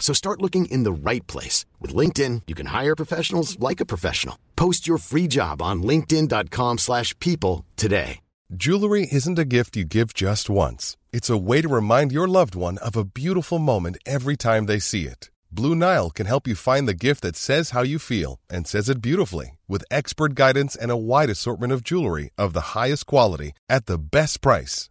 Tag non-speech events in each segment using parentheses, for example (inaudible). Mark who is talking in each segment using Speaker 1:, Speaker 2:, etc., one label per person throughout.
Speaker 1: So start looking in the right place. With LinkedIn, you can hire professionals like a professional. Post your free job on linkedin.com/people slash people today.
Speaker 2: Jewelry isn't a gift you give just once. It's a way to remind your loved one of a beautiful moment every time they see it. Blue Nile can help you find the gift that says how you feel and says it beautifully with expert guidance and a wide assortment of jewelry of the highest quality at the best price.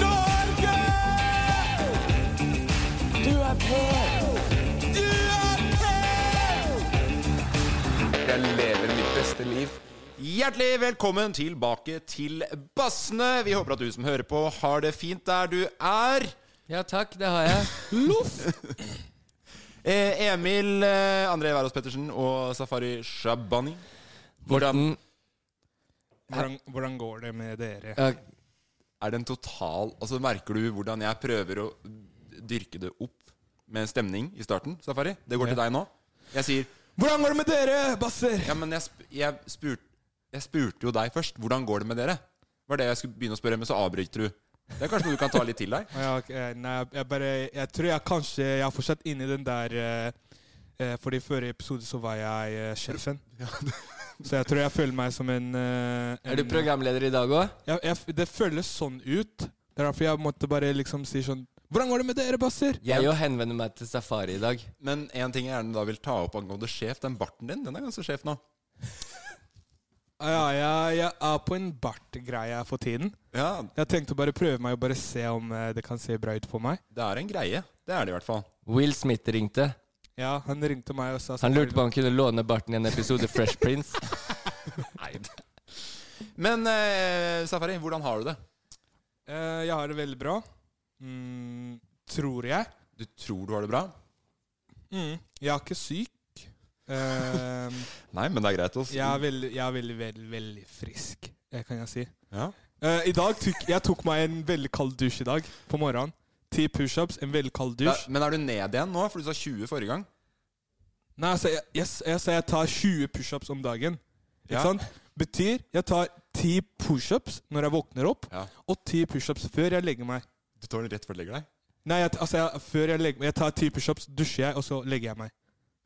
Speaker 3: Norge! Du er på! Du er på!
Speaker 4: Jeg lever mitt beste liv. Hjertelig velkommen tilbake til Bassene. Vi håper at du som hører på, har det fint der du er.
Speaker 5: Ja takk, det har jeg. Loff!
Speaker 4: Eh, Emil eh, André Wærås Pettersen og Safari Shabani. Hvordan
Speaker 6: Hvordan, hvordan går det med dere?
Speaker 5: Ja,
Speaker 4: er den total Altså Merker du hvordan jeg prøver å dyrke det opp med stemning i starten, Safari? Det går til deg nå. Jeg sier
Speaker 6: Hvordan går det med dere, basser?
Speaker 4: Ja, men jeg, sp jeg, spurte, jeg spurte jo deg først. Hvordan går det med dere? Var det jeg skulle begynne å spørre, men så avbryter du. Det er kanskje noe du kan ta litt til deg?
Speaker 6: Ja, ok, eh, nei, jeg bare Jeg tror jeg kanskje Jeg er fortsatt inne i den der eh, eh, For i forrige episode så var jeg eh,
Speaker 5: (laughs)
Speaker 6: sjefen. Så jeg tror jeg føler meg som en, eh, en
Speaker 5: Er du programleder i dag òg?
Speaker 6: jeg, jeg, Det føles sånn ut. Det er derfor jeg måtte bare liksom si sånn Hvordan går det med dere, basser?
Speaker 5: Jeg jo henvender meg til Safari i dag.
Speaker 4: Men en ting jeg gjerne da vil ta opp angående sjef, den barten din, den er ganske sjef nå.
Speaker 6: Ah, Ja, jeg, jeg er på en bartgreie for tiden.
Speaker 4: Ja,
Speaker 6: Jeg tenkte å bare prøve meg og bare se om eh, det kan se bra ut på meg.
Speaker 4: det er en greie. Det er det i hvert
Speaker 6: (laughs)
Speaker 4: fall.
Speaker 5: Will Smith ringte.
Speaker 6: Ja, Han ringte meg og sa sånn,
Speaker 5: Han lurte på om han kunne låne barten i en episode Fresh Prince.
Speaker 4: Nei, det. Men eh, Safari, hvordan har du det?
Speaker 6: Eh, jeg har det veldig bra. Mm, tror jeg.
Speaker 4: Du tror du har det bra? Mm.
Speaker 6: Jeg er ikke syk.
Speaker 4: (laughs)
Speaker 6: Eh,
Speaker 4: Nei, men det er greit. Også.
Speaker 6: jeg er veldig, jeg er veldig, veldig, veldig frisk, eh, kan jeg si.
Speaker 4: Ja.
Speaker 6: Eh, I dag tok, Jeg tok meg en veldig kald dusj i dag på morgenen. Ti pushups, en veldig kald
Speaker 4: Da,
Speaker 6: dusj.
Speaker 4: men er du ned igjen nå? For du sa 20 forrige gang.
Speaker 6: Nei, altså, jeg, jeg, jeg, sa jeg tar 20 pushups om dagen. Ikke
Speaker 4: Ja.
Speaker 6: sant? Betyr jeg tar ti pushups når jeg våkner opp,
Speaker 4: Ja.
Speaker 6: og ti pushups før jeg legger meg.
Speaker 4: Du tar den rett før du legger deg?
Speaker 6: Nei, jeg, altså, jeg, før jeg legger meg Jeg tar ti pushups, dusjer jeg, og så legger jeg meg.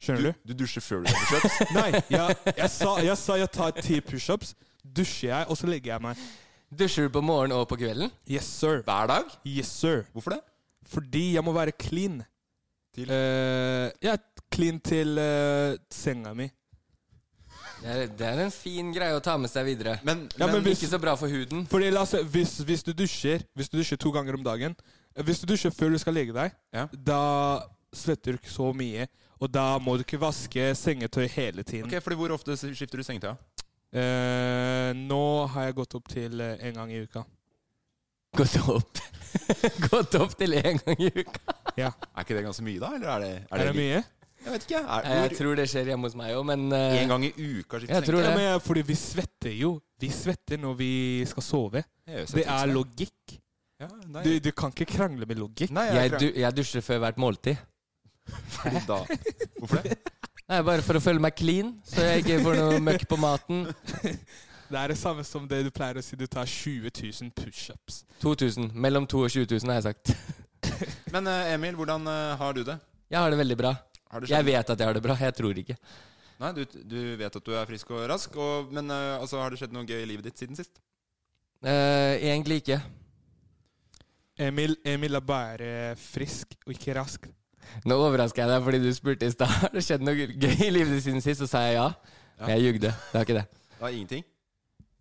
Speaker 6: Skjønner du?
Speaker 4: Du dusjer før du legger deg?
Speaker 6: Nei, jeg, jeg, sa, jeg sa jeg tar ti pushups, dusjer jeg, og så legger jeg meg.
Speaker 5: Dusjer du på morgenen og på kvelden?
Speaker 6: Yes, sir.
Speaker 4: Hver dag?
Speaker 6: Yes, sir.
Speaker 4: Hvorfor det?
Speaker 6: Fordi jeg må være clean.
Speaker 4: Til?
Speaker 6: Eh, jeg er clean til eh, senga mi.
Speaker 5: Det er, det er en fin greie å ta med seg videre.
Speaker 4: Men,
Speaker 6: Ja, men
Speaker 4: men,
Speaker 6: hvis-
Speaker 5: Ikke så bra for huden.
Speaker 6: Fordi la oss se, hvis, hvis du dusjer Hvis du dusjer to ganger om dagen eh, Hvis du dusjer før du skal legge deg,
Speaker 4: Ja.
Speaker 6: da svetter du ikke så mye. Og da må du ikke vaske sengetøy hele tiden.
Speaker 4: Ok, fordi Hvor ofte skifter du sengetøy? da?
Speaker 6: Eh, nå har jeg gått opp til eh, en gang i uka.
Speaker 5: Gått opp. (laughs) Gått opp til én gang i uka.
Speaker 6: Ja.
Speaker 4: Er ikke det ganske mye, da? Eller er det,
Speaker 6: Er det mye?
Speaker 4: Jeg vet ikke. Er,
Speaker 5: Jeg tror det skjer hjemme hos meg òg, men eh,
Speaker 4: En gang i uka skifter
Speaker 5: Jeg tror
Speaker 6: Ja,
Speaker 5: det.
Speaker 6: men jeg- fordi vi svetter jo. Vi svetter når vi skal sove.
Speaker 4: Jeg
Speaker 6: Det er logikk.
Speaker 4: Ja, nei,
Speaker 6: Du, du kan ikke krangle med logikk.
Speaker 4: nei, jeg,
Speaker 5: jeg, du, jeg dusjer før hvert måltid.
Speaker 4: fordi da. Hvorfor det?
Speaker 5: Nei, Bare for å føle meg clean, så jeg ikke får noe møkk på maten.
Speaker 6: (laughs) Det er det samme som det du pleier å si. Du tar 20 000 pushups.
Speaker 5: 2000. Mellom 2 og 20 000, har jeg sagt.
Speaker 4: Men eh, Emil, hvordan eh, har du det?
Speaker 5: Jeg har det veldig bra.
Speaker 4: Har det
Speaker 5: Jeg
Speaker 4: skjedd?
Speaker 5: vet at jeg har det bra. Jeg tror ikke.
Speaker 4: Nei, du, du vet at du er frisk og rask, og, men eh, altså, har det skjedd noe gøy i livet ditt siden sist?
Speaker 5: Eh, egentlig ikke.
Speaker 6: Emil, Emil er bare frisk og ikke rask.
Speaker 5: Nå overrasker jeg deg fordi du spurte i stad. (laughs) Har det skjedd noe gøy i livet ditt siden sist? Så sa jeg ja. Men jeg jugde. Det har ikke det.
Speaker 4: Det er ingenting.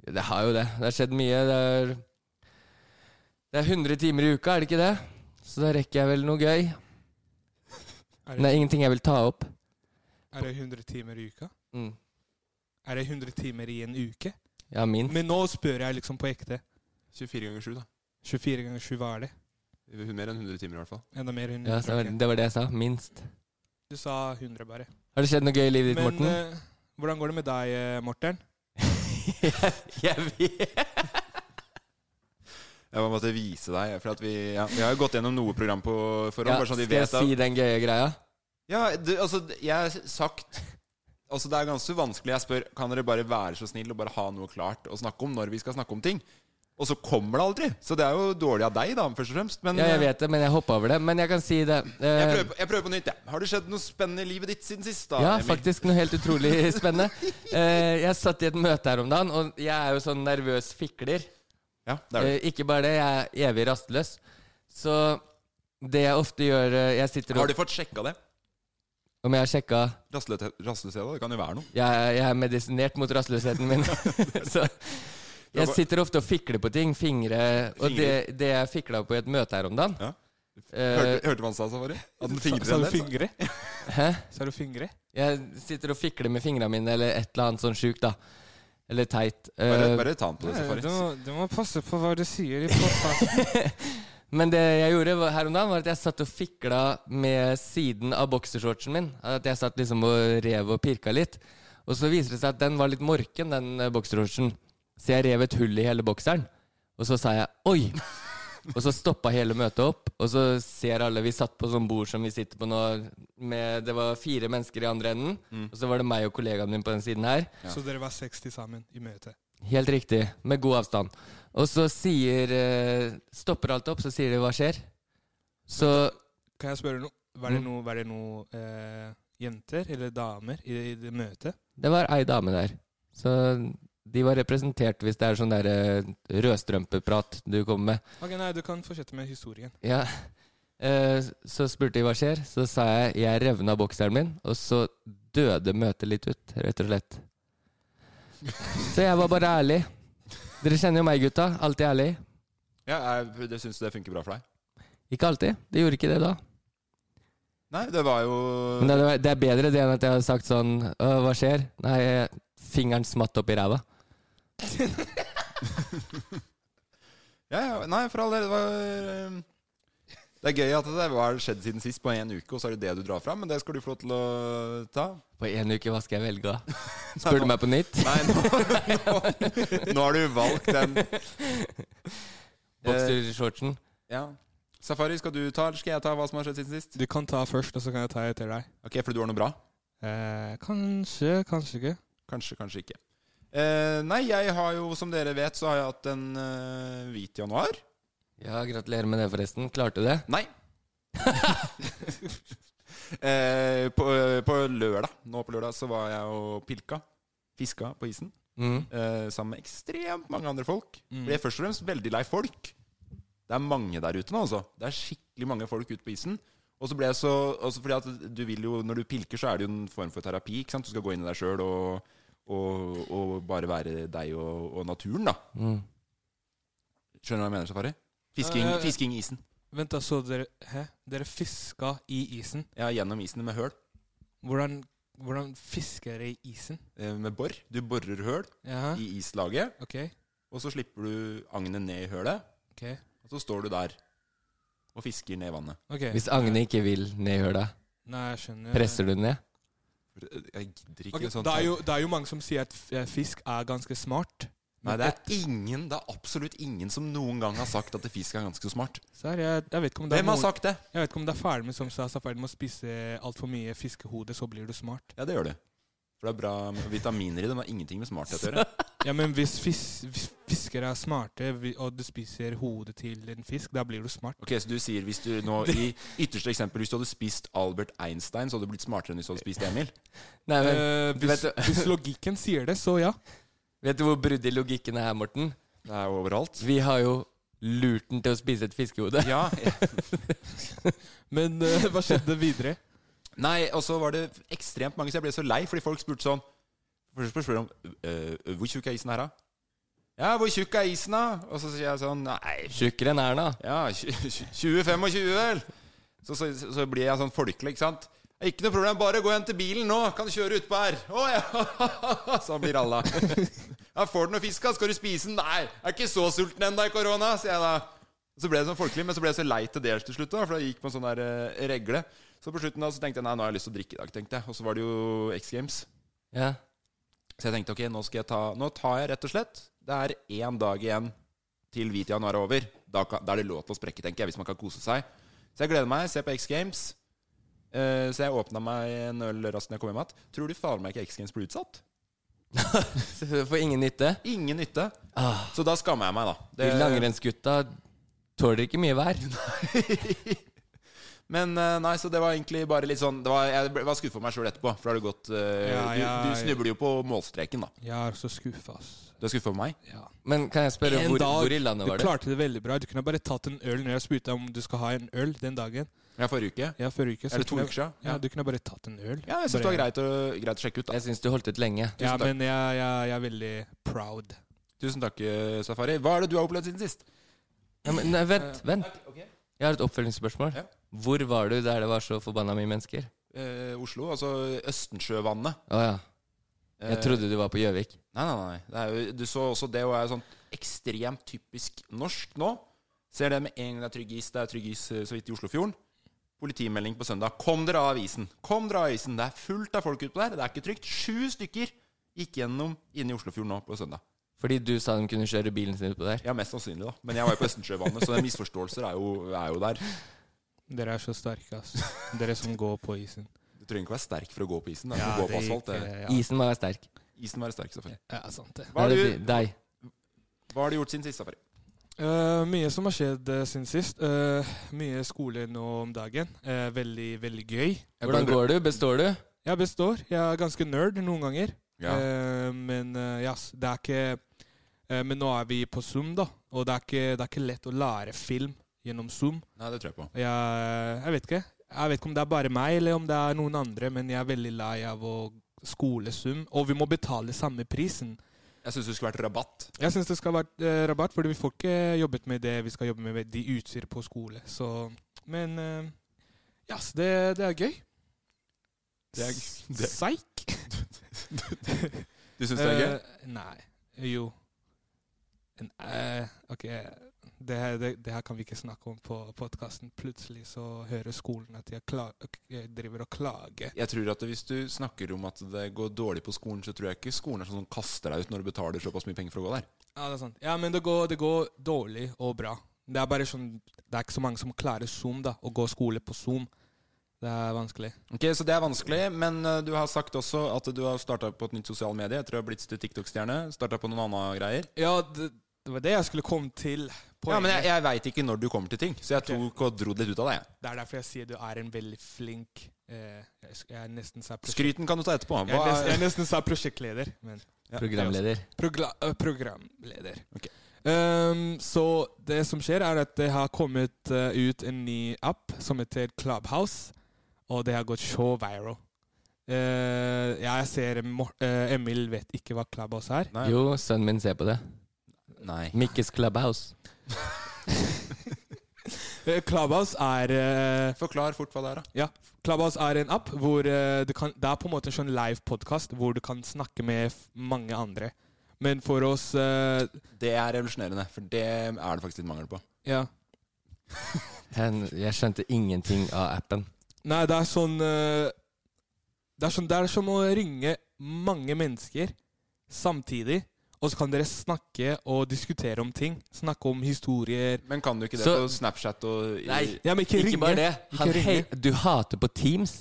Speaker 5: Det har jo det. Det har skjedd mye. Det er, det er 100 timer i uka, er det ikke det? Så da rekker jeg vel noe gøy.
Speaker 6: Er
Speaker 5: Men det
Speaker 6: det,
Speaker 5: er ingenting jeg vil ta opp.
Speaker 6: er det 100 timer i uka?
Speaker 5: Mm.
Speaker 6: Er det 100 timer i en uke?
Speaker 5: Ja, minst.
Speaker 6: Men nå spør jeg liksom på ekte.
Speaker 4: 24 ganger 7, da.
Speaker 6: 24 ganger 7, hva er det?
Speaker 4: Mer enn 100 timer, i hvert fall.
Speaker 6: Enda mer enn 100.
Speaker 5: Ja, så det var- det var det jeg sa. Minst.
Speaker 6: Du sa 100 bare.
Speaker 5: Har det skjedd noe gøy i livet ditt,
Speaker 6: Men
Speaker 5: Morten?
Speaker 6: eh, hvordan går det med deg, eh, Morten?
Speaker 5: (laughs) jeg, jeg vet
Speaker 4: Jeg bare måtte vise deg, for at vi, ja, vi har jo gått gjennom noe program på forhånd.
Speaker 5: ja,
Speaker 4: bare sånn
Speaker 5: Skal
Speaker 4: at de
Speaker 5: jeg
Speaker 4: vet at
Speaker 5: si den gøye greia?
Speaker 4: Ja, det, altså, jeg har sagt Altså, det er ganske vanskelig. Jeg spør kan dere bare være så snill og bare ha noe klart å snakke om når vi skal snakke om ting. Og så kommer det aldri. Så det er jo dårlig av deg, da, først og fremst. Men eh,
Speaker 5: Ja, jeg vet det, men jeg hoppa over det. Men jeg kan si det. Eh,
Speaker 4: jeg, prøver, på- jeg prøver på nytt, jeg. Har det skjedd noe spennende i livet ditt siden sist, da?
Speaker 5: Ja,
Speaker 4: Emil?
Speaker 5: faktisk noe helt
Speaker 4: (laughs)
Speaker 5: utrolig spennende. Eh, jeg satt i et møte her om dagen, og jeg er jo sånn nervøs fikler.
Speaker 4: Ja, det er det.
Speaker 5: Eh, ikke bare det, jeg er evig rastløs. Så det jeg ofte gjør eh, Jeg sitter
Speaker 4: Har
Speaker 5: og
Speaker 4: du fått sjekka det?
Speaker 5: Om jeg har sjekka
Speaker 4: Rastløshet, rastløshet, da? Det kan jo være noe.
Speaker 5: jeg, er- jeg er medisinert mot rastløsheten
Speaker 4: (laughs)
Speaker 5: min. så jeg sitter ofte og fikler på ting. Fingre. Og det, det jeg fikla på i et møte her om dagen
Speaker 4: Ja.
Speaker 5: eh,
Speaker 4: Hørte, hørte man seg, Safari? At den fingrer
Speaker 6: Sa
Speaker 4: en
Speaker 6: du
Speaker 4: del?
Speaker 6: fingre?
Speaker 5: Hæ?
Speaker 6: Sa du fingre?
Speaker 5: Jeg sitter og fikler med fingrene mine, eller et eller annet sånn sjukt, da. Eller teit. Eh,
Speaker 4: Bare, bare ta den på det,
Speaker 6: Nei,
Speaker 4: Safari.
Speaker 6: du, må, du må passe på hva du sier i (laughs) podkasten.
Speaker 5: Men det jeg gjorde var- her om dagen, var at jeg satt og fikla med siden av boksershortsen min. At jeg satt liksom og rev og pirka litt. Og så viser det seg at den var litt morken, den eh, boksershortsen. Så jeg rev et hull i hele bokseren. Og så sa jeg 'oi'. Og så stoppa hele møtet opp, og så ser alle Vi satt på sånn bord som vi sitter på nå, med Det var fire mennesker i andre enden, og så var det meg og kollegaen min på den siden her.
Speaker 6: Så dere var 60 sammen i møtet.
Speaker 5: Helt riktig. Med god avstand. Og så sier eh, Stopper alt opp, så sier de 'hva skjer'? Så
Speaker 6: Kan jeg spørre noe? Var det noe, var det noe eh, jenter eller damer i, i det møtet?
Speaker 5: Det var ei dame der. Så de var representert, hvis det er sånn der eh, rødstrømpeprat du kommer med.
Speaker 6: Ok, nei, du kan fortsette med historien.
Speaker 5: Ja. Eh, Så spurte de hva skjer, så sa jeg jeg revna bokseren min, og så døde møtet litt ut, rett og slett. Så jeg var bare ærlig. Dere kjenner jo meg, gutta. Alltid ærlig.
Speaker 4: Ja, jeg, det Syns du det funker bra for deg?
Speaker 5: Ikke alltid. Det gjorde ikke det da.
Speaker 4: Nei, det var jo
Speaker 5: Men det, det var- det er bedre det enn at jeg har sagt sånn «Å, Hva skjer? Nei, jeg- fingeren smatt opp i ræva.
Speaker 4: Ja, ja, nei, for all del. Det, var, ehm, det er gøy at det var skjedd siden sist på en uke, og så er det det du drar fram. Men det skal du få lov til å ta.
Speaker 5: På én uke, hva skal jeg velge da? Spør du meg på
Speaker 4: (laughs)
Speaker 5: nytt?
Speaker 4: Nei, nå, nå, nå har du valgt den. Eh,
Speaker 5: Boksershortsen.
Speaker 4: Ja. Safari, skal du ta, eller skal jeg ta hva som har skjedd siden sist?
Speaker 6: Du kan ta først, og så kan jeg ta etter deg.
Speaker 4: Ok, For du har noe bra?
Speaker 6: Eh, kanskje, kanskje ikke.
Speaker 4: Kanskje, kanskje ikke. Eh, nei, jeg har jo, som dere vet, så har jeg hatt en eh, hvit januar.
Speaker 5: Ja, gratulerer med det, forresten. Klarte du det?
Speaker 4: Nei. (laughs) eh, på, på lørdag, nå på lørdag, så var jeg og pilka. Fiska på isen.
Speaker 5: Mm.
Speaker 4: eh, sammen med ekstremt mange andre folk.
Speaker 6: Mm.
Speaker 4: Ble først og fremst veldig lei folk. Det er mange der ute nå, altså. Det er skikkelig mange folk ute på isen. Og så ble jeg så også fordi at du vil jo, Når du pilker, så er det jo en form for terapi. ikke sant? Du skal gå inn i deg sjøl og, og, og bare være deg og, og naturen, da.
Speaker 5: Mm.
Speaker 4: Skjønner du hva jeg mener, Safari? Fisking,
Speaker 6: Ja, ja, ja.
Speaker 4: fisking i isen.
Speaker 6: Vent, da, så dere Hæ? Dere fiska i isen?
Speaker 4: Ja, gjennom isen med høl.
Speaker 6: Hvordan, hvordan fisker dere i isen?
Speaker 4: eh, Med bor. Du borer høl
Speaker 6: Jaha,
Speaker 4: i islaget,
Speaker 6: ok.
Speaker 4: og så slipper du agnet ned i hølet.
Speaker 6: Ok.
Speaker 4: Og så står du der og fisker ned vannet.
Speaker 6: ok.
Speaker 5: Hvis Agne ikke vil ned i høla,
Speaker 6: Nei, jeg skjønner.
Speaker 5: presser du den ned?
Speaker 4: eh, Jeg gidder
Speaker 6: Ok, det, er jo, det er jo mange som sier at f- eh, fisk er ganske smart.
Speaker 4: Nei, det er ingen, det er absolutt ingen som noen gang har sagt at fisk er ganske smart.
Speaker 6: Sær, jeg, jeg, vet ikke om det er
Speaker 4: Hvem har
Speaker 6: noen-
Speaker 4: sagt det?
Speaker 6: jeg vet ikke om det er faren min som sa at ferdig med å spise altfor mye fiskehode, så blir du smart.
Speaker 4: Ja, det gjør du. For det er bra med vitaminer i det, men det har ingenting med smarthet å gjøre. (laughs)
Speaker 6: Ja, men hvis, fis, hvis fiskere er smarte, vi- og du spiser hodet til en fisk, da blir du smart.
Speaker 4: Ok, Så du sier hvis du nå i ytterste eksempel Hvis du hadde spist Albert Einstein, så hadde du blitt smartere enn hvis du hadde spist Emil?
Speaker 5: Nei, men
Speaker 6: Eh,
Speaker 5: du (laughs)
Speaker 6: hvis,
Speaker 5: vet-
Speaker 4: (laughs)
Speaker 6: hvis logikken sier det, så ja.
Speaker 5: Vet du hvor brudd i logikken er her, Morten?
Speaker 4: Det er jo overalt.
Speaker 5: Vi har jo lurt den til å spise et fiskehode. (laughs)
Speaker 4: Ja.
Speaker 6: Men eh, hva skjedde videre?
Speaker 4: Nei, og så var det ekstremt mange, så jeg ble så lei, fordi folk spurte sånn Først spør de om «Øh, hvor tjukk er isen her, da? Ja, hvor tjukk er isen, da? Og så sier jeg sånn Nei,
Speaker 5: Tjukkere enn Erna.
Speaker 4: Ja, 20-25, vel? Så, så, så blir jeg sånn folkelig, ikke sant? «Ja, Ikke noe problem, bare gå hjem til bilen nå. Kan du kjøre utpå her? Å ja! (laughs) Sånn blir alle. Ja, får du noe fisk, da? Skal du spise den? Nei, jeg er ikke så sulten ennå i korona, sier jeg da. Så ble det sånn folkelig, men så ble jeg så lei til dels til slutt, da, for da gikk på en sånn der eh, regle. Så på slutten da, så tenkte jeg nei, nå har jeg lyst til å drikke i dag, tenkte jeg. Og så var det jo X Games.
Speaker 5: Ja.
Speaker 4: Så jeg tenkte ok, nå, skal jeg ta, nå tar jeg rett og slett Det er én dag igjen til hvit januar er over. Da, kan, da er det lov til å sprekke, tenker jeg, hvis man kan kose seg. Så jeg gleder meg. Se på X Games. Eh, så jeg åpna meg en øl raskt når jeg kom hjem igjen. Tror du faen meg ikke X Games ble utsatt?
Speaker 5: For ingen nytte.
Speaker 4: Ingen nytte. Så da skammer jeg meg, da.
Speaker 5: De
Speaker 4: Det-
Speaker 5: langrennsgutta tåler ikke mye vær.
Speaker 4: Men eh, nei, så det var egentlig bare litt sånn det var, Jeg ble- var skuffet over meg sjøl etterpå, for da har det gått eh,
Speaker 6: Ja, ja,
Speaker 4: du,
Speaker 6: ja.
Speaker 4: du snubler jo på målstreken, da.
Speaker 6: Jeg er så skuffa, ass.
Speaker 4: Du er skuffa over meg?
Speaker 6: Ja.
Speaker 5: Men kan jeg spørre,
Speaker 6: En
Speaker 5: hvor,
Speaker 6: dag,
Speaker 5: hvor i landet var
Speaker 6: Du
Speaker 5: det?
Speaker 6: klarte det veldig bra. Du kunne bare tatt en øl når jeg spurte deg om du skal ha en øl den dagen.
Speaker 4: Ja, forrige uke?
Speaker 6: Ja, forrige uke. så
Speaker 4: Eller to
Speaker 6: kunne
Speaker 4: uker
Speaker 6: jeg-
Speaker 4: siden, ja.
Speaker 6: Ja, du kunne bare tatt en øl.
Speaker 4: Ja, jeg syns det
Speaker 6: Bare-
Speaker 4: var greit å, greit å sjekke ut. da
Speaker 5: Jeg syns du holdt ut lenge.
Speaker 6: Ja,
Speaker 4: Tusen takk.
Speaker 6: men jeg, jeg, jeg er veldig proud.
Speaker 4: Tusen takk, eh, Safari. Hva er det du har opplevd siden sist? Eh,
Speaker 5: Ja, men, nei, vent, vent. Jeg har et oppfølgingsspørsmål.
Speaker 4: Ja.
Speaker 5: Hvor var du der det var så forbanna mye mennesker?
Speaker 4: Eh, Oslo, altså Østensjøvannet.
Speaker 5: Å ja.
Speaker 4: Eh,
Speaker 5: Jeg trodde du var på Gjøvik.
Speaker 4: Nei, nei, nei. Det er jo, du så også det og er jo sånn ekstremt typisk norsk nå. Ser det med en gang det er trygg is. Det er trygg is eh, så vidt i Oslofjorden. Politimelding på søndag. Kom dere av isen! Kom dere av isen! Det er fullt av folk utpå der. Det er ikke trygt. Sju stykker gikk gjennom inne i Oslofjorden nå på søndag.
Speaker 5: Fordi du sa de kunne kjøre bilen sin utpå der.
Speaker 4: Ja, mest sannsynlig, da. Men jeg var jo på Østensjøvannet, så den misforståelser er jo, er jo der.
Speaker 6: Dere er så sterke, ass. Dere som går på
Speaker 4: (laughs)
Speaker 6: isen.
Speaker 4: Du trenger ikke være sterk for å gå på isen. Det er for å gå på asfalt. det-
Speaker 6: eh,
Speaker 5: Isen må være sterk.
Speaker 4: Isen må være sterk, selvfølgelig.
Speaker 6: Ja, ja, sant det.
Speaker 4: Hva har
Speaker 5: Nei, det
Speaker 4: du-
Speaker 5: sier- Deg.
Speaker 4: Hva har du gjort siden sist, Safari?
Speaker 6: Eh, mye som har skjedd eh, siden sist. Eh, mye skole nå om dagen. Eh, veldig, veldig gøy.
Speaker 5: Hvordan går du? Består du?
Speaker 6: Jeg består. Jeg er ganske nerd noen ganger.
Speaker 4: Ja.
Speaker 6: Eh, men eh, ja, s- det er ikke eh, Men nå er vi på Zoom, da. Og det er ikke, det er ikke lett å lære film gjennom Zoom.
Speaker 4: Nei, det tror jeg på.
Speaker 6: Jeg, jeg vet ikke. Jeg vet ikke om det er bare meg eller om det er noen andre, men jeg er veldig lei av å skole Zoom. Og vi må betale samme prisen.
Speaker 4: Jeg syns det skulle vært rabatt.
Speaker 6: Jeg syns det skal være eh, rabatt, fordi vi får ikke jobbet med det vi skal jobbe med, med de utstyr på skole. Så, men eh, ja, så det, det er gøy.
Speaker 4: Det er-
Speaker 6: S-
Speaker 4: det er-
Speaker 6: Seik.
Speaker 4: (laughs) Du syns det er gøy?
Speaker 6: Eh, nei. Jo. En, eh, ok, det her, det, det her kan vi ikke snakke om på podkasten. Plutselig så hører skolen at jeg, kla- jeg driver og klager.
Speaker 4: Jeg tror at Hvis du snakker om at det går dårlig på skolen, så tror jeg ikke skolen er sånn som kaster deg ut når du betaler såpass mye penger for å gå der.
Speaker 6: Ja, det er sant. Ja, men det går, det går dårlig og bra. Det er bare sånn, det er ikke så mange som klarer Zoom, da. Å gå skole på Zoom. Det er vanskelig.
Speaker 4: Ok, Så det er vanskelig, men eh, du har sagt også at du har starta på et nytt sosialt medie etter å ha blitt TikTok-stjerne. Starta på noen andre greier.
Speaker 6: Ja, det, det var det jeg skulle komme til.
Speaker 4: Ja, Men
Speaker 6: Poenget.
Speaker 4: jeg, jeg veit ikke når du kommer til ting, så jeg tok og dro det litt ut av deg. jeg.
Speaker 6: Det er derfor jeg sier du er en veldig flink eh, jeg, sk- jeg er nesten sa prosjekt-
Speaker 4: Skryten kan du ta etterpå.
Speaker 6: jeg, er
Speaker 4: Hva
Speaker 6: nesten, jeg er nesten sa prosjektleder, men
Speaker 5: Programleder.
Speaker 6: progla, eh, programleder.
Speaker 4: Ok.
Speaker 6: Ehm, så det som skjer, er at det har kommet eh, ut en ny app som heter Clubhouse, og det har gått så viral. Eh, jeg ser Mor eh, Emil vet ikke hva Clubhouse er.
Speaker 4: Nei.
Speaker 5: Jo, sønnen min ser på det.
Speaker 4: Nei.
Speaker 5: Mikkes Clubhouse.
Speaker 6: Eh, Clubhouse er eh,
Speaker 4: Forklar fort hva det er, da.
Speaker 6: Ja. Clubhouse er en app hvor eh, du kan, det er på en måte en sånn live podcast hvor du kan snakke med f mange andre. Men for oss eh,
Speaker 4: Det er revolusjonerende, for det er det faktisk litt mangel på.
Speaker 6: Ja.
Speaker 5: Hen, jeg skjønte ingenting av appen.
Speaker 6: Nei, det er sånn eh, Det er sånn Det er som å ringe mange mennesker samtidig, og så kan dere snakke og diskutere om ting. Snakke om historier.
Speaker 4: Men kan du ikke det
Speaker 5: Så-
Speaker 4: på Snapchat og
Speaker 5: Nei.
Speaker 6: Ja, men ikke,
Speaker 5: Ikke
Speaker 6: ringe
Speaker 5: bare det.
Speaker 6: Ikke
Speaker 5: Han hei,
Speaker 6: ringe.
Speaker 5: du hater på Teams.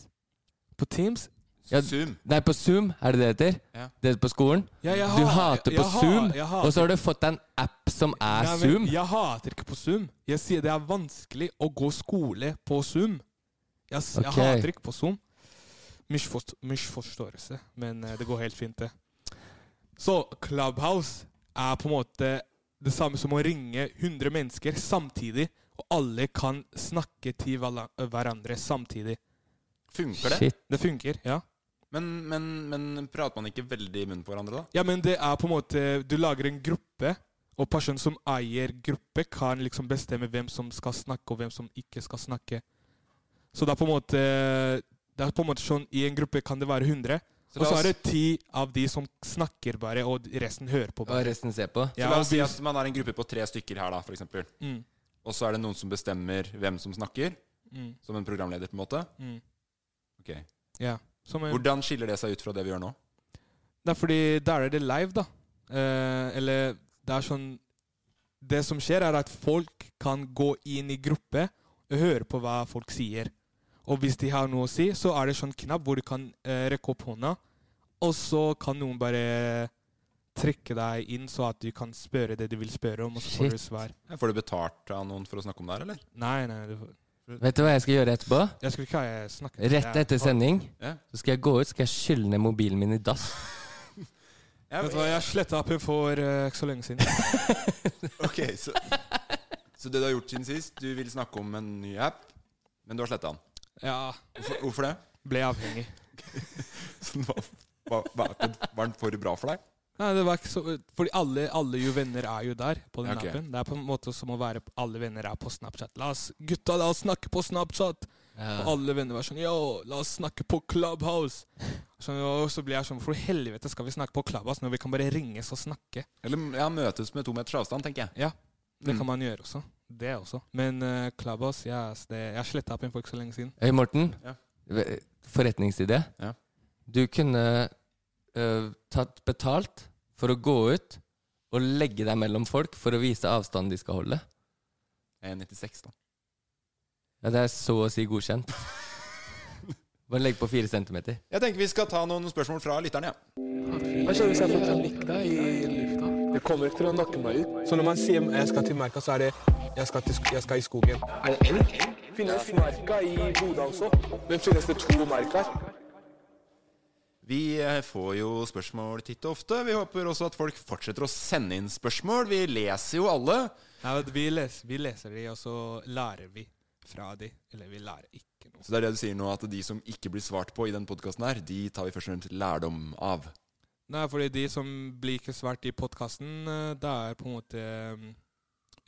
Speaker 6: på Teams.
Speaker 5: Ja,
Speaker 4: Zoom?
Speaker 5: Nei, på Zoom, er det det heter?
Speaker 4: Ja.
Speaker 5: Det er på skolen?
Speaker 6: Ja, jeg
Speaker 5: du
Speaker 6: ha-
Speaker 5: hater på
Speaker 6: jeg ha-
Speaker 5: Zoom,
Speaker 6: jeg hater-
Speaker 5: og så har du fått deg en app som er
Speaker 6: Nei, men
Speaker 5: Zoom?
Speaker 6: Jeg hater ikke på Zoom. Jeg sier det er vanskelig å gå skole på Zoom. Jeg, s-
Speaker 5: Ok.
Speaker 6: jeg hater ikke på Zoom. Misforst misforståelse, men eh, det går helt fint, det. Så Clubhouse er på en måte det samme som å ringe 100 mennesker samtidig, og alle kan snakke til hvala- hverandre samtidig.
Speaker 4: Funker det?
Speaker 5: Shit.
Speaker 6: Det funker, ja.
Speaker 4: Men, men, men prater man ikke veldig i munnen på hverandre, da?
Speaker 6: Ja, men det er på en måte Du lager en gruppe, og personen som eier gruppe, kan liksom bestemme hvem som skal snakke, og hvem som ikke skal snakke. Så det er på en måte Det er på en måte sånn I en gruppe kan det være 100,
Speaker 4: Så
Speaker 6: og
Speaker 4: la
Speaker 6: så
Speaker 4: oss,
Speaker 6: er det ti av de som snakker bare, og resten hører på.
Speaker 5: Og
Speaker 6: bare.
Speaker 5: resten ser på.
Speaker 4: så
Speaker 6: Ja,
Speaker 4: la
Speaker 6: og
Speaker 4: oss si
Speaker 6: vi-
Speaker 4: at man er en gruppe på tre stykker her, da, for eksempel.
Speaker 6: mm,
Speaker 4: Og så er det noen som bestemmer hvem som snakker,
Speaker 6: mm,
Speaker 4: som en programleder, på en måte.
Speaker 6: mm.
Speaker 4: Ok.
Speaker 6: Ja. Som en,
Speaker 4: Hvordan skiller det seg ut fra det vi gjør nå?
Speaker 6: det er fordi der er det live, da. Eh, eller det er sånn Det som skjer, er at folk kan gå inn i gruppe og høre på hva folk sier. Og hvis de har noe å si, så er det sånn knapp hvor du kan eh, rekke opp hånda, og så kan noen bare trekke deg inn, så at du kan spørre det du vil spørre om, og så får du svar.
Speaker 4: Får du betalt av noen for å snakke om det her, eller?
Speaker 6: Nei, nei, du får
Speaker 5: Vet du hva jeg skal gjøre etterpå?
Speaker 6: Jeg skulle ikke ha jeg snakket
Speaker 5: Rett etter sending
Speaker 4: Ja.
Speaker 5: så skal jeg gå ut skal jeg skylle ned mobilen min i dass.
Speaker 6: Vet du hva, jeg sletta appen for eh, ikke så lenge siden.
Speaker 5: (laughs)
Speaker 4: (laughs) Ok, så, så det du har gjort siden sist Du vil snakke om en ny app, men du har sletta den.
Speaker 6: Ja,
Speaker 4: Hvorfor, hvorfor det? (laughs)
Speaker 6: ble avhengig.
Speaker 4: Så den var, var, var, var den for bra for deg?
Speaker 6: Nei, det var ikke så Fordi alle, alle jo venner er jo der på den
Speaker 4: Ok.
Speaker 6: appen. Det er på en måte som å være Alle venner er på Snapchat. La oss, gutta, la oss snakke på Snapchat! Og alle venner var sånn Yo, la oss snakke på Clubhouse! Så, og så blir jeg sånn For helvete skal vi snakke på Clubhouse når vi kan bare ringes og snakke?
Speaker 4: Eller ja, møtes med to meters avstand, tenker jeg.
Speaker 6: Ja, det
Speaker 4: Mm.
Speaker 6: kan man gjøre også. Det også. Men eh, Clubhouse, yes, det, jeg sletta appen for ikke så lenge siden.
Speaker 5: Øy, Morten.
Speaker 4: Ja.
Speaker 5: Ve- Forretningsidé.
Speaker 4: Ja.
Speaker 5: Du kunne ø, tatt betalt for å gå ut og legge deg mellom folk for å vise avstanden de skal holde.
Speaker 4: Jeg er 96, da.
Speaker 5: Ja, Det er så å si godkjent. Bare legg på fire centimeter.
Speaker 4: Jeg tenker vi skal ta noen spørsmål fra lytterne. Ja.
Speaker 7: Hva skjer hvis jeg får panikk da i lufta? Det kommer ikke til å nakke meg ut.
Speaker 8: Så når man sier jeg skal til merka, så er det jeg skal, til, sk- jeg skal i skogen.
Speaker 7: Finnes merka i Bodø også? Men finnes det to merker?
Speaker 4: Vi eh, får jo spørsmål titt og ofte. Vi håper også at folk fortsetter å sende inn spørsmål. Vi leser jo alle.
Speaker 6: Nei, vet du, vi, les, vi leser de, og så lærer vi fra de. Eller vi lærer ikke noe.
Speaker 4: Så det er det du sier nå, at de som ikke blir svart på i den podkasten her, de tar vi først og fremst lærdom av.
Speaker 6: Nei, fordi de som blir ikke svart i podkasten, det er på en måte eh,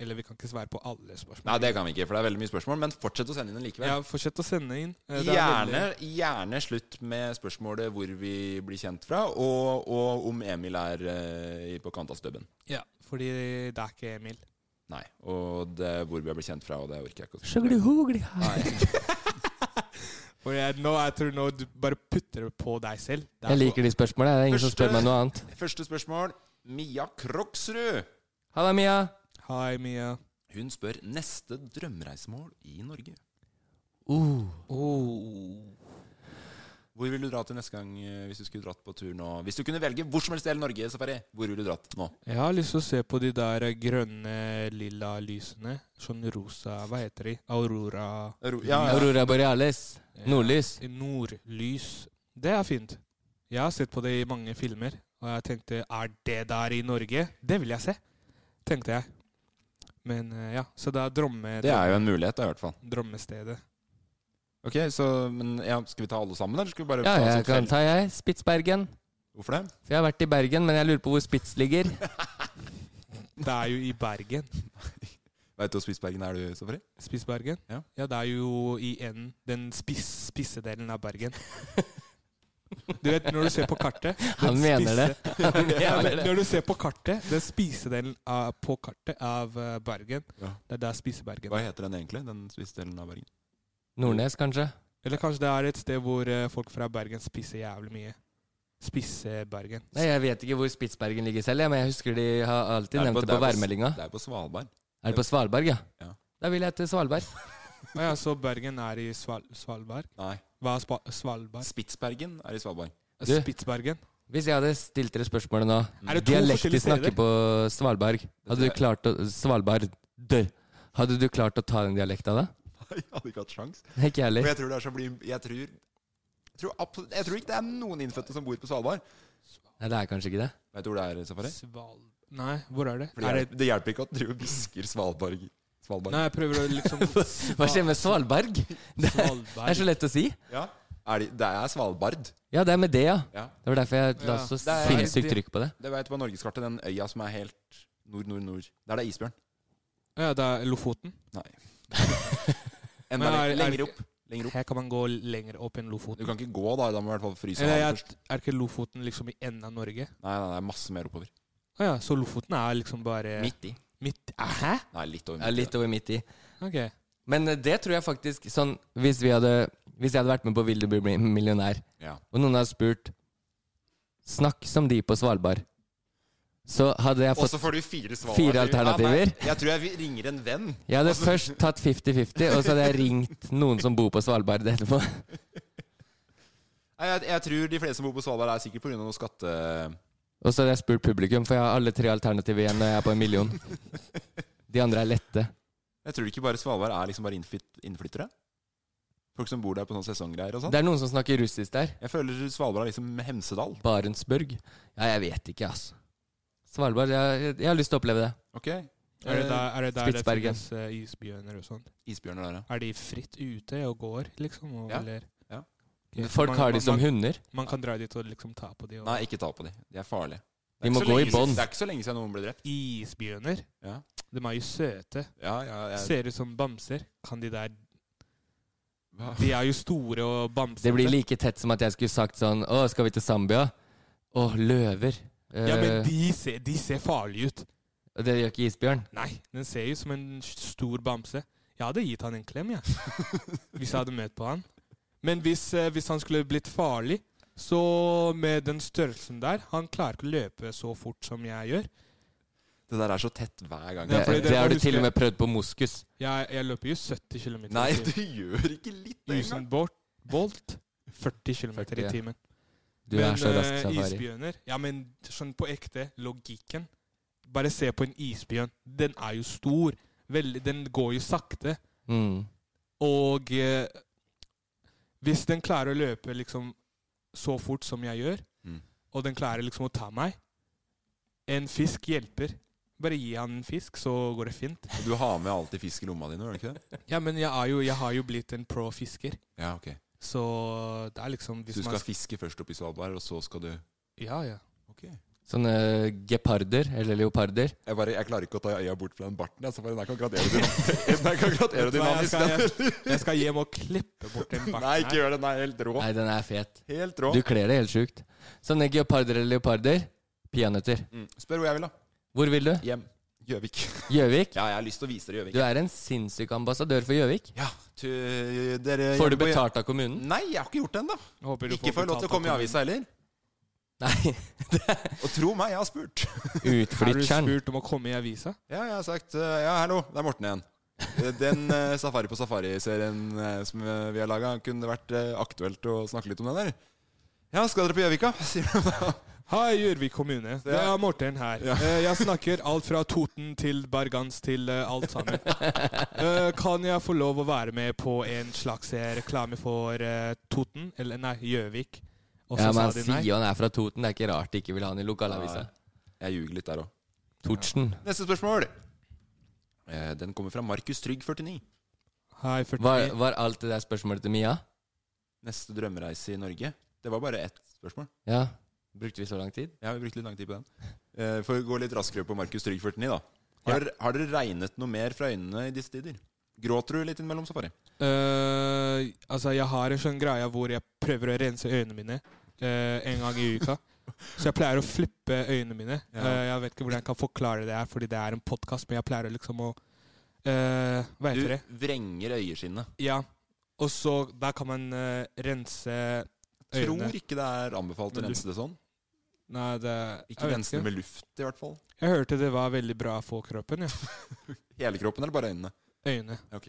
Speaker 6: Eller vi kan ikke svare på alle spørsmål.
Speaker 4: Nei, det kan vi ikke, for det er veldig mye spørsmål. Men fortsett å sende inn den likevel.
Speaker 6: Ja, fortsett å sende inn. Eh, det er
Speaker 4: Gjerne,
Speaker 6: veldig-
Speaker 4: gjerne slutt med spørsmålet hvor vi blir kjent fra, og, og om Emil er eh, på kant av stubben.
Speaker 6: Ja, fordi det er ikke Emil.
Speaker 4: Nei. Og det er hvor vi har blitt kjent fra, og det orker jeg ikke å Nei.
Speaker 6: (laughs) For jeg, nå, jeg tror nå du bare putter det på deg selv. Det er
Speaker 5: Jeg liker de spørsmålene. Det er ingen som
Speaker 4: Første-
Speaker 5: spør meg noe annet.
Speaker 4: Første spørsmål. Mia Kroksrud.
Speaker 5: Halla, Mia.
Speaker 6: så- Hei, Mia.
Speaker 4: Hun spør neste drømmereisemål i Norge.
Speaker 5: Uh.
Speaker 4: Hvor vil du dra til neste gang eh, hvis du skulle dratt på tur nå? Hvis du kunne velge hvor som helst i hele Norge, Safari, hvor ville du dratt nå?
Speaker 6: Jeg har lyst til å se på de der eh, grønne, lilla lysene. Sånn rosa Hva heter de? Aurora Eh,
Speaker 5: Aurora borealis. Nordlys.
Speaker 6: Nordlys. Det er fint. Jeg har sett på det i mange filmer, og jeg tenkte er det der i Norge? Det vil jeg se, tenkte jeg. Men eh, ja, så det er drømme,
Speaker 4: Det er jo en mulighet, da, i hvert fall.
Speaker 6: drømmestedet.
Speaker 4: Ok, så, men ja, Skal vi ta alle sammen, eller skal vi bare
Speaker 5: Ja,
Speaker 4: ta oss
Speaker 5: jeg
Speaker 4: et
Speaker 5: kan
Speaker 4: felt?
Speaker 5: ta, jeg. Spitsbergen.
Speaker 4: Hvorfor det?
Speaker 5: For jeg har vært i Bergen, men jeg lurer på hvor Spitz ligger.
Speaker 6: Det er jo i Bergen.
Speaker 4: Veit du hvor Spitsbergen er, du, Safari?
Speaker 6: Spitsbergen?
Speaker 4: Ja.
Speaker 6: det er jo i enden. Den spiss, spisse delen av Bergen. Du vet, når du ser på kartet
Speaker 5: (laughs) Han
Speaker 6: den
Speaker 5: mener det.
Speaker 6: (laughs) spisse-
Speaker 5: Han
Speaker 6: Ja,
Speaker 5: mener
Speaker 6: men
Speaker 5: det.
Speaker 6: Når du ser på kartet, den spisedelen av, på kartet av eh, Bergen,
Speaker 4: Ja.
Speaker 6: det er der Spisebergen
Speaker 4: Hva heter den egentlig, den spissdelen av Bergen?
Speaker 5: Nordnes, kanskje?
Speaker 6: Eller kanskje det er et sted hvor eh, folk fra Bergen spiser jævlig mye. Spisse Bergen.
Speaker 5: Nei, Jeg vet ikke hvor Spitsbergen ligger selv, jeg, men jeg husker de har alltid
Speaker 4: Det er
Speaker 5: nevnt
Speaker 4: på-
Speaker 5: det
Speaker 4: det er
Speaker 5: på
Speaker 4: på s-
Speaker 5: værmeldinga.
Speaker 4: Det er på Svalbard.
Speaker 5: Er det på Svalbard, ja?
Speaker 4: Ja.
Speaker 5: Da vil jeg til Svalbard.
Speaker 6: Å ja, så Bergen er i Sval Svalbard?
Speaker 4: Nei,
Speaker 6: Hva er spa Svalbard?
Speaker 4: Spitsbergen er i (laughs) Svalbard.
Speaker 5: Du.
Speaker 6: Spitsbergen?
Speaker 5: Hvis jeg hadde stilt dere spørsmålet nå
Speaker 6: Mm. Er det to
Speaker 5: Dialekt de
Speaker 6: forskjellige
Speaker 5: snakker
Speaker 6: steder?
Speaker 5: på Svalbard. Hadde du klart å Svalbard Hadde du klart å ta den dialekta da?
Speaker 4: Jeg hadde ikke hatt sjans.
Speaker 5: Nei, Ikke jeg
Speaker 4: Og
Speaker 5: heller.
Speaker 4: jeg tror det er så bli- Jeg tror jeg tror, absolutt, jeg tror ikke det er noen innfødte som bor på Svalbard.
Speaker 5: Nei, det er kanskje ikke det.
Speaker 4: Vet du hvor det er, Safari?
Speaker 6: Sval Nei, hvor er det?
Speaker 4: For det,
Speaker 6: Er
Speaker 4: hjelper,
Speaker 6: det
Speaker 4: det hjelper ikke at du hvisker Svalbard. Svalbard.
Speaker 6: Nei, jeg prøver å liksom
Speaker 5: (laughs) Hva skjer med Svalberg? Det er, det er så
Speaker 6: Svalbard?
Speaker 5: lett å si.
Speaker 4: Ja. Er det, det er Svalbard.
Speaker 5: Ja, det er med det, ja.
Speaker 4: Ja.
Speaker 5: Det var derfor jeg la
Speaker 6: Ja,
Speaker 5: så
Speaker 4: det er-
Speaker 5: sinnssykt trykk på det.
Speaker 4: Det vet du på norgeskartet, den øya som er helt nord, nord, nord. Der det er isbjørn.
Speaker 6: Ja, det er Lofoten.
Speaker 4: Nei. Enda
Speaker 6: Men er-
Speaker 4: lenger,
Speaker 6: er
Speaker 4: lenger
Speaker 6: det
Speaker 4: opp. Lenger opp.
Speaker 6: Her kan man gå lenger opp enn
Speaker 4: Du
Speaker 6: Lofoten.
Speaker 4: kan ikke gå da, da må du i hvert fall fryse
Speaker 6: Eller
Speaker 4: av
Speaker 6: er,
Speaker 4: først.
Speaker 6: er ikke Lofoten liksom i enden av Norge?
Speaker 4: Nei, nei, det er masse mer oppover.
Speaker 6: Å ja, så Lofoten er liksom bare
Speaker 5: Midt i.
Speaker 6: midt Ah, Hæ?
Speaker 4: Nei, litt over.
Speaker 5: Ja, litt over midt i.
Speaker 6: Ok.
Speaker 5: Men eh, det tror jeg faktisk sånn, hvis, vi hadde, hvis jeg hadde vært med på Vil du bli millionær,
Speaker 4: Ja.
Speaker 5: og noen hadde spurt Snakk som de på Svalbard. Så hadde jeg
Speaker 4: Og
Speaker 5: fått
Speaker 4: så får du fire svar.
Speaker 5: Fire alternativer.
Speaker 4: nei, jeg tror jeg vi- ringer en venn.
Speaker 5: Jeg hadde først tatt 50-50, og så hadde jeg ringt noen som bor på Svalbard etterpå. (laughs)
Speaker 4: Nei, jeg, jeg tror de fleste som bor på Svalbard, er sikkert pga. noe skatte...
Speaker 5: Og så hadde jeg spurt publikum, for jeg har alle tre alternativer igjen når jeg er på en million. De andre er lette.
Speaker 4: Jeg tror ikke bare Svalbard er liksom bare innflyt, innflyttere. Folk som bor der på sånne sesonggreier og sånn.
Speaker 5: Det er noen som snakker russisk der.
Speaker 4: Jeg føler Svalbard er liksom Hemsedal.
Speaker 5: Barentsburg. Ja, jeg vet ikke, altså. Svalbard, jeg, jeg har lyst til å oppleve det.
Speaker 4: Ok,
Speaker 6: Er det
Speaker 4: Eh,
Speaker 6: der, er det, der det
Speaker 5: Spitsbergen.
Speaker 6: finnes eh, isbjørner og sånt?
Speaker 4: isbjørner der, ja.
Speaker 6: Er de fritt ute og går, liksom? Og,
Speaker 4: Ja.
Speaker 6: Eller?
Speaker 4: Ja.
Speaker 6: Ok,
Speaker 5: Folk
Speaker 6: man-
Speaker 5: har de
Speaker 6: man-
Speaker 5: som
Speaker 6: man-
Speaker 5: hunder.
Speaker 6: Man kan dra dit og liksom ta på de og
Speaker 4: Nei, ikke ta på de. De er farlige. Det er
Speaker 5: De
Speaker 4: ikke
Speaker 5: må
Speaker 4: så
Speaker 5: gå
Speaker 4: lenge
Speaker 5: i
Speaker 4: siden-
Speaker 5: bånd.
Speaker 4: Det er ikke så lenge siden noen ble drept.
Speaker 6: Isbjørner?
Speaker 4: Ja.
Speaker 6: De er jo søte.
Speaker 4: Ja, ja, jeg,
Speaker 6: Ser ut som bamser. Kan de der
Speaker 4: Hva?
Speaker 6: De er jo store og bamsete.
Speaker 5: Det blir like tett som at jeg skulle sagt sånn Å, skal vi til Zambia? Å, løver. Eh,
Speaker 6: Ja, men de ser, de ser farlige ut.
Speaker 5: og det gjør ikke isbjørn.
Speaker 6: Nei, den ser jo som en stor bamse. Jeg hadde gitt han en klem, jeg. hvis jeg hadde møtt på han. Men hvis, eh, hvis han skulle blitt farlig, så med den størrelsen der Han klarer ikke å løpe så fort som jeg gjør.
Speaker 4: det der er så tett hver gang.
Speaker 5: Det,
Speaker 6: Ja, fordi
Speaker 5: det,
Speaker 6: dere må
Speaker 5: har du
Speaker 6: huske-
Speaker 5: til og med prøvd på moskus.
Speaker 6: Jeg, jeg løper jo 70 km
Speaker 4: Nei, (laughs)
Speaker 6: i
Speaker 4: du
Speaker 6: timen.
Speaker 4: gjør ikke litt det engang.
Speaker 6: Usen Bolt, Bolt 40 km i
Speaker 5: 40, ja.
Speaker 6: timen.
Speaker 5: Du er så rask
Speaker 6: eh,
Speaker 5: safari.
Speaker 6: isbjørner Ja, men sånn på ekte, logikken Bare se på en isbjørn. Den er jo stor. Veldig, den går jo sakte.
Speaker 5: Mm.
Speaker 6: Og eh, hvis den klarer å løpe liksom så fort som jeg gjør,
Speaker 4: Mm.
Speaker 6: og den klarer liksom å ta meg En fisk hjelper. Bare gi han en fisk, så går det fint.
Speaker 4: Du har med alltid fisk i lomma di nå, gjør du ikke det?
Speaker 6: Ja, men jeg, er jo, jeg har jo blitt en pro fisker,
Speaker 4: Ja, ok.
Speaker 6: så det er
Speaker 4: Så
Speaker 6: liksom hvis
Speaker 4: du
Speaker 6: man
Speaker 4: skal fiske først oppe i Svalbard, og så skal du
Speaker 6: Ja, ja.
Speaker 4: Ok.
Speaker 5: Sånne geparder, eller leoparder.
Speaker 4: Jeg, bare, jeg klarer ikke å ta øya bort fra den barten. Jeg, så bare, den her kan gradere din (laughs) Den her kan gradere
Speaker 6: Vet du
Speaker 4: din
Speaker 6: hva,
Speaker 4: navn
Speaker 6: jeg
Speaker 4: (laughs)
Speaker 6: skal-
Speaker 4: isteden.
Speaker 6: Jeg skal hjem og klippe bort den
Speaker 4: Nei, ikke gjør det. Den er helt rå.
Speaker 5: Nei, den er fet.
Speaker 4: Helt rå.
Speaker 5: Du kler det helt sjukt. Sånne geparder eller leoparder. Peanøtter.
Speaker 4: Mm. Spør hvor jeg vil, da.
Speaker 5: Hvor vil du?
Speaker 4: Hjem. Gjøvik.
Speaker 5: Gjøvik?
Speaker 4: Ja, jeg har lyst til å vise dere
Speaker 5: Du
Speaker 4: Gjøvik.
Speaker 5: er en sinnssyk ambassadør for Gjøvik.
Speaker 4: Ja, tu,
Speaker 6: Eh,
Speaker 4: dere
Speaker 5: Får du
Speaker 4: jeg-
Speaker 5: betalt av kommunen?
Speaker 4: Nei, jeg har ikke gjort det ennå. Ikke får jeg lov til å komme i avisa heller.
Speaker 5: Nei. (laughs)
Speaker 4: Og tro meg, jeg har spurt.
Speaker 6: Har du
Speaker 5: Utflytteren.
Speaker 6: spurt om å komme i avisa?
Speaker 4: Ja, jeg har sagt eh, Ja, hallo, det er Morten igjen. Eh, Den eh, Safari på safari-serien eh, som eh, vi har laga, kunne det vært eh, aktuelt å snakke litt om den der? Ja, skal dere på Gjøvika? (laughs) sier de da.
Speaker 6: Hei, Gjørvik kommune. Det er Morten her. Eh, Jeg snakker alt fra Toten til Bergans til eh, alt sammen. Eh, Kan jeg få lov å være med på en slags eh, reklame for eh, Toten? Eller nei, Gjøvik. Og
Speaker 5: Ja,
Speaker 6: så
Speaker 5: men
Speaker 6: sa
Speaker 5: han
Speaker 6: de
Speaker 5: sier
Speaker 6: nei.
Speaker 5: han er fra Toten. Det er ikke rart de ikke vil ha han i lokalavisa.
Speaker 4: Jeg ljuger litt der òg.
Speaker 5: Tortsen.
Speaker 4: Neste spørsmål. Eh, Den kommer fra Markus Trygg, 49.
Speaker 6: Hei, 49.
Speaker 5: Var, var alt det der spørsmålet til Mia?
Speaker 4: Neste drømmereise i Norge. Det var bare ett spørsmål.
Speaker 5: Ja. Brukte vi så lang tid?
Speaker 4: Ja, vi brukte litt lang tid på den. Eh, For å gå litt raskere på Markus Trygg 49, da. Har, dere- har dere regnet noe mer fra øynene i disse tider? Gråter du litt innimellom safari?
Speaker 6: Eh, altså, jeg har en sånn greie hvor jeg prøver å rense øynene mine eh, en gang i uka. Så jeg pleier å flippe øynene mine.
Speaker 4: Ja.
Speaker 6: Eh, jeg vet ikke hvordan jeg kan forklare det her, fordi det er en podkast, men jeg pleier å liksom å eh, Hva
Speaker 4: Du
Speaker 6: heter det?
Speaker 4: vrenger øyeskinnet.
Speaker 6: Ja. Og så Der kan man eh, rense øynene.
Speaker 4: Tror ikke det er anbefalt å
Speaker 6: Men du-
Speaker 4: rense det sånn.
Speaker 6: Nei, det
Speaker 4: Ikke
Speaker 6: jeg vet
Speaker 4: rense det med luft, i hvert fall.
Speaker 6: Jeg hørte det var veldig bra for kroppen. Ja.
Speaker 4: Hele kroppen eller bare øynene?
Speaker 6: Øyne. (laughs)
Speaker 4: Ok.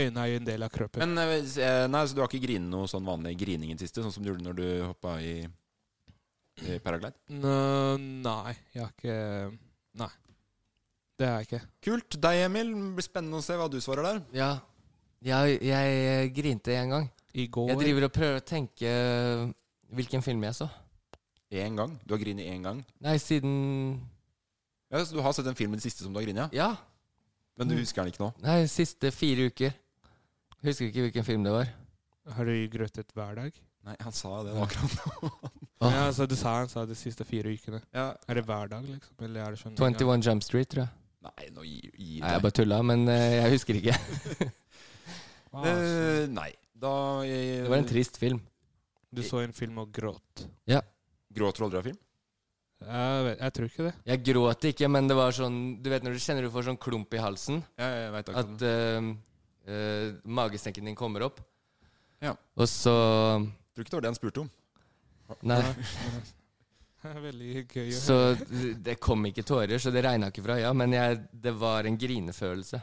Speaker 6: Øyne er jo en del av kroppen.
Speaker 4: Men eh, s- eh, nei, så du har ikke grinet noe sånn vanlig grining i det siste, sånn som du gjorde når du hoppa i, i paraglide?
Speaker 6: Nå, nei, jeg har ikke Nei. Det har jeg ikke.
Speaker 4: Kult. Deg, Emil. Det blir spennende å se hva du svarer der.
Speaker 5: Ja. Jeg, jeg grinte en gang.
Speaker 6: I går
Speaker 5: Jeg driver og prøver å tenke eh, hvilken film jeg så.
Speaker 4: Én gang. Du har grinet én gang.
Speaker 5: Nei, siden
Speaker 4: Ja, så du har sett den filmen den siste som du har grinet? ja?
Speaker 5: Ja.
Speaker 4: Men du husker den ikke nå?
Speaker 5: Nei, siste fire uker. Husker ikke hvilken film det var.
Speaker 6: Har du grøtet hver dag?
Speaker 4: Nei, han sa det akkurat nå.
Speaker 5: Åh.
Speaker 6: Ja, altså, du sa han sa de siste fire ukene.
Speaker 4: (laughs) ja.
Speaker 6: Er det hver dag, liksom? Eller er det sånn
Speaker 5: 21 Jump Street, tror jeg.
Speaker 4: Nei, nå gi, gi
Speaker 5: Nei, jeg
Speaker 4: deg.
Speaker 5: bare tulla, men eh, jeg husker ikke.
Speaker 6: Ah, så
Speaker 4: Eh, nei. Da eh, jeg,
Speaker 5: Det var en trist film.
Speaker 6: du så en film og gråt?
Speaker 4: Gråter du aldri av film?
Speaker 6: Jeg, vet, jeg tror ikke det.
Speaker 5: Jeg gråt ikke, men det var sånn Du vet når du kjenner du får sånn klump i halsen?
Speaker 4: Ja, jeg vet akkurat
Speaker 5: At
Speaker 4: det.
Speaker 5: eh, eh, magesekken din kommer opp.
Speaker 4: Ja.
Speaker 5: Og så eh,
Speaker 4: Tror ikke det var det han spurte om.
Speaker 5: Nei.
Speaker 6: (laughs) Det er Veldig gøy å
Speaker 5: Så det kom ikke tårer, så det regna ikke fra øya. Men jeg, det var en grinefølelse.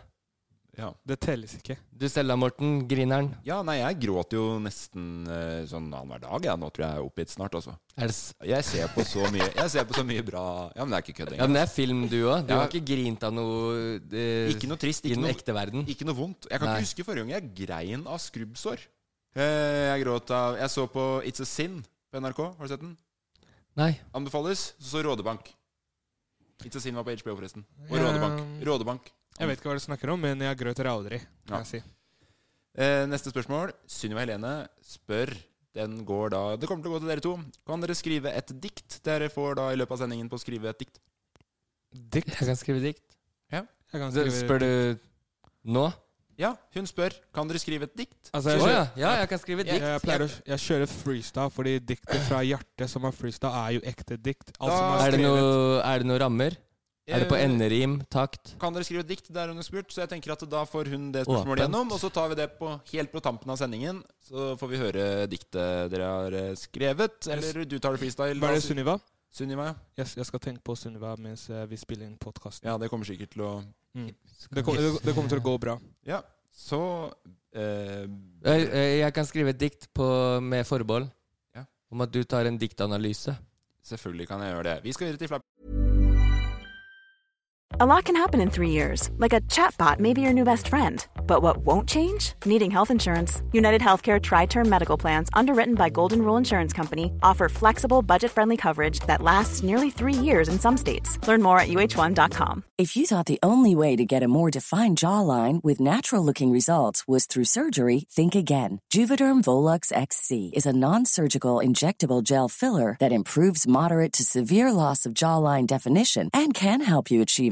Speaker 4: Ja,
Speaker 6: Det telles ikke.
Speaker 5: Du selv da, Morten. Grineren.
Speaker 4: ja nei, jeg gråter jo nesten eh, sånn annenhver dag. Ja. Nå tror jeg jeg er oppgitt snart, altså.
Speaker 5: Er det s
Speaker 4: Jeg ser på så mye Jeg ser på så mye bra Ja, men det er ikke kødd
Speaker 5: ja,
Speaker 4: engang.
Speaker 5: men det er film, du òg. Du
Speaker 4: Ja.
Speaker 5: har ikke grint av noe eh,
Speaker 4: Ikke noe trist,
Speaker 5: i
Speaker 4: ikke
Speaker 5: den
Speaker 4: noe-
Speaker 5: ekte verden.
Speaker 4: Ikke noe vondt. Jeg kan
Speaker 5: Nei.
Speaker 4: ikke huske forrige gang jeg grein av skrubbsår. Eh, Jeg gråt av Jeg så på It's a Sin på NRK. Har du sett den?
Speaker 5: Nei.
Speaker 4: Anbefales. Så så Rådebank. It's a Sin var på HBO, forresten. Og
Speaker 6: Ja.
Speaker 4: Rådebank. Rådebank.
Speaker 6: Jeg vet ikke hva du snakker om, men jeg grøter aldri.
Speaker 4: Ja.
Speaker 6: Kan jeg si.
Speaker 4: Eh, Neste spørsmål. Sunniva Helene spør den går da Det kommer til å gå til dere to. Kan dere skrive et dikt? Dere får da i løpet av sendingen på å skrive et dikt.
Speaker 6: Dikt.
Speaker 5: Jeg kan skrive dikt.
Speaker 6: Jeg kan
Speaker 5: Så
Speaker 6: skrive
Speaker 5: spør du nå?
Speaker 4: Ja, hun spør. Kan dere skrive et dikt?
Speaker 6: Altså,
Speaker 5: Å
Speaker 6: jeg,
Speaker 5: ja.
Speaker 6: kjører,
Speaker 5: ja, jeg kan skrive
Speaker 6: jeg,
Speaker 5: dikt.
Speaker 6: pleier å jeg kjører freestyle, fordi diktet fra hjertet som er freestyle, er jo ekte dikt. Alt
Speaker 4: Da-
Speaker 6: som er
Speaker 5: Ah, Er det
Speaker 6: skrevet.
Speaker 5: noe, er det noe rammer? Er det på
Speaker 4: Eh,
Speaker 5: enderim? Takt?
Speaker 4: Kan dere skrive et dikt? Det er hun spurt, så jeg tenker at da får hun det spørsmålet
Speaker 5: Åpent.
Speaker 4: gjennom. Og så tar vi det på, helt på tampen av sendingen, så får vi høre diktet dere har eh, skrevet. Eller du tar det freestyle.
Speaker 6: Hva er det,
Speaker 4: da,
Speaker 6: Sunniva?
Speaker 4: Sunniva? ja.
Speaker 6: Jeg, jeg skal tenke på Sunniva mens eh, vi spiller inn podkasten.
Speaker 4: Ja, det kommer sikkert til å
Speaker 6: Det, kom- det, det kommer til å
Speaker 5: (laughs)
Speaker 6: gå bra.
Speaker 4: Ja, så eh,
Speaker 5: Jeg, jeg kan skrive et dikt på, med forbehold
Speaker 4: Ja.
Speaker 5: om at du tar en diktanalyse.
Speaker 4: Selvfølgelig kan jeg gjøre det. Vi skal videre til Flapp.
Speaker 9: A lot can happen in three years, like a chatbot may be your new best friend. But what won't change? Needing health insurance. United Healthcare Tri Term Medical Plans, underwritten by Golden Rule Insurance Company, offer flexible, budget friendly coverage that lasts nearly three years in some states. Learn more at uh1.com.
Speaker 10: If you thought the only way to get a more defined jawline with natural looking results was through surgery, think again. Juvederm Volux XC is a non surgical injectable gel filler that improves moderate to severe loss of jawline definition and can help you achieve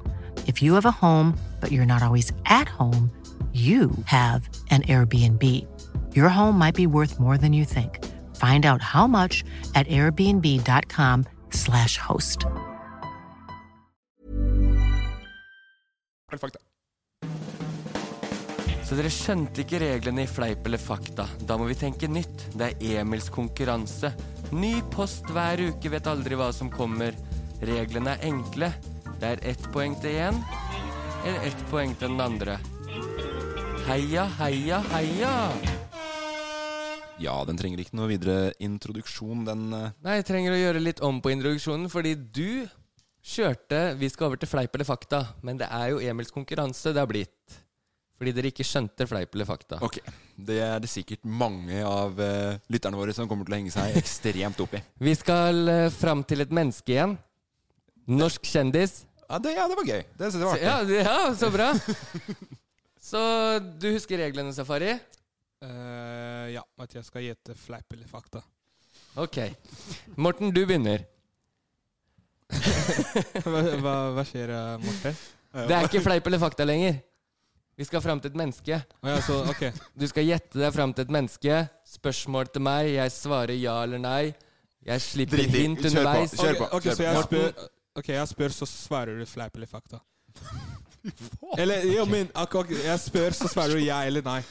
Speaker 10: If you have a home, but you're not always at home, you have an Airbnb. Your home might be worth more than you think. Find out how much at airbnb.com/slash host.
Speaker 4: Flapp fakta.
Speaker 5: Så dere skjønte ikke reglene i Fleip eller fakta. Da må vi tenke nytt. Det er Emils konkurranse. Ny post hver uke, vet aldri hva som kommer. Reglene er enkle. Det er ett poeng til én. eller ett poeng til den andre. Heia, heia, heia!
Speaker 4: Ja, den trenger ikke noe videre introduksjon, den eh.
Speaker 5: Nei, jeg trenger å gjøre litt om på introduksjonen, fordi du kjørte Vi skal over til fleip eller fakta, men det er jo Emils konkurranse det har blitt. Fordi dere ikke skjønte fleip eller fakta.
Speaker 4: Ok, det er det sikkert mange av eh, lytterne våre som kommer til å henge seg ekstremt opp i.
Speaker 5: Vi skal eh, fram til et menneske igjen. Norsk kjendis.
Speaker 4: (laughs) Ja, det, ja, det var gøy. Det synes jeg var
Speaker 5: Så- Ja,
Speaker 4: artig.
Speaker 5: det- ja, så bra. Så du husker reglene, Safari?
Speaker 6: Eh, ja, at jeg skal gjette fleip eller fakta. (laughs)
Speaker 5: Ok. Morten, du begynner.
Speaker 6: hva, hva, hva skjer, eh, Morten?
Speaker 5: Det er ikke fleip eller fakta lenger. Vi skal fram til et menneske.
Speaker 6: Å ja, så, ok.
Speaker 5: Du skal gjette deg fram til et menneske. Spørsmål til meg. Jeg svarer ja eller nei. Jeg slipper
Speaker 4: Drit i.
Speaker 5: hint
Speaker 4: Kjør på.
Speaker 5: underveis.
Speaker 4: Kjør på.
Speaker 6: Ok, ok, så jeg
Speaker 4: Morten.
Speaker 6: spør, ok, jeg spør, så svarer du fleip eller
Speaker 5: (laughs)
Speaker 6: fakta. Eller jo, men ak ok, jeg spør, så svarer du ja eller nei.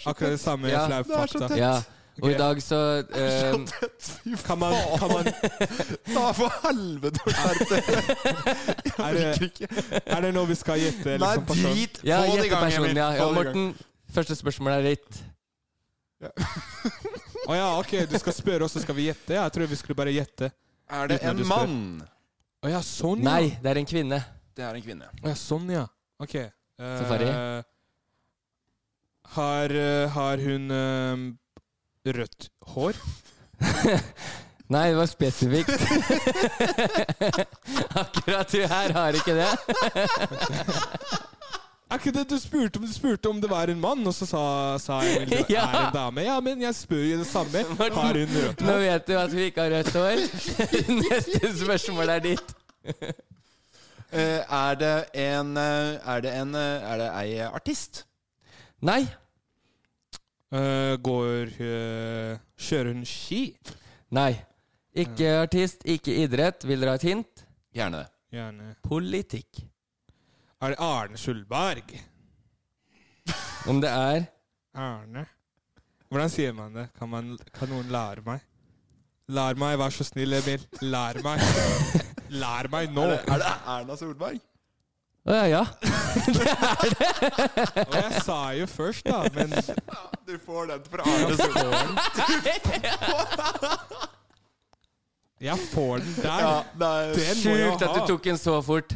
Speaker 6: Akkurat det samme
Speaker 5: Ja.
Speaker 6: fleip
Speaker 5: Det er så
Speaker 6: fakta.
Speaker 5: tett. Ja. Og
Speaker 6: Ok.
Speaker 5: i dag så
Speaker 4: (laughs)
Speaker 5: eh,
Speaker 6: Kan man, kan man
Speaker 4: Da, for helvete!
Speaker 6: er, det, er det noe vi skal gjette?
Speaker 4: Nei,
Speaker 6: Liksom, person?
Speaker 4: drit!
Speaker 5: Ja,
Speaker 4: Få det i
Speaker 5: gjette
Speaker 4: gang,
Speaker 5: personen.
Speaker 4: Emil.
Speaker 5: Ja. ja,
Speaker 4: Få det i (laughs) gang.
Speaker 5: Morten, første spørsmål er ditt.
Speaker 6: Å ja, ok, du skal spørre, og så skal vi gjette? Ja, jeg tror vi skulle bare gjette.
Speaker 4: Er det
Speaker 6: Uten at
Speaker 4: en
Speaker 6: du spør.
Speaker 4: mann?
Speaker 6: Å ja, sånn, ja.
Speaker 5: Nei, det er en kvinne. (laughs)
Speaker 4: Det er en kvinne.
Speaker 6: Å ja, sånn, ja. Ok. eh,
Speaker 5: Safari?
Speaker 6: har, eh, har hun eh, rødt hår?
Speaker 5: Nei, det var spesifikt. (laughs) Akkurat du her har ikke det.
Speaker 6: (laughs) Er ikke det du spurte om? Du spurte om det var en mann, og så sa, sa jeg vel, det
Speaker 5: Ja.
Speaker 6: er en dame. Ja, men jeg spør jo det samme.
Speaker 5: Morten.
Speaker 6: Har hun rødt
Speaker 5: Nå vet du at vi ikke har rødt hår. (laughs) Neste spørsmål er ditt.
Speaker 4: Eh, er det en eh, Er det en eh, Er det ei eh, artist?
Speaker 5: Nei.
Speaker 6: Eh, går eh, Kjører hun ski?
Speaker 5: Nei. Ikke artist, ikke idrett. Vil dere ha et hint?
Speaker 4: Gjerne det.
Speaker 6: Gjerne.
Speaker 5: Politikk.
Speaker 6: Er det Arne Skjulberg?
Speaker 5: Om det er
Speaker 6: Arne Hvordan sier man det? Kan, man, kan noen lære meg? Lær meg, vær så snill, Emil. Lær meg. Lær meg nå!
Speaker 4: Er det, er det Erna Solberg?
Speaker 5: Å ja, ja.
Speaker 6: Og jeg sa jo først, da, men
Speaker 4: Du får den fra Arne Solberg.
Speaker 6: jeg får den der.
Speaker 4: Ja, det er
Speaker 6: Den må jeg
Speaker 5: Sjukt at
Speaker 6: ha.
Speaker 5: du tok den så fort.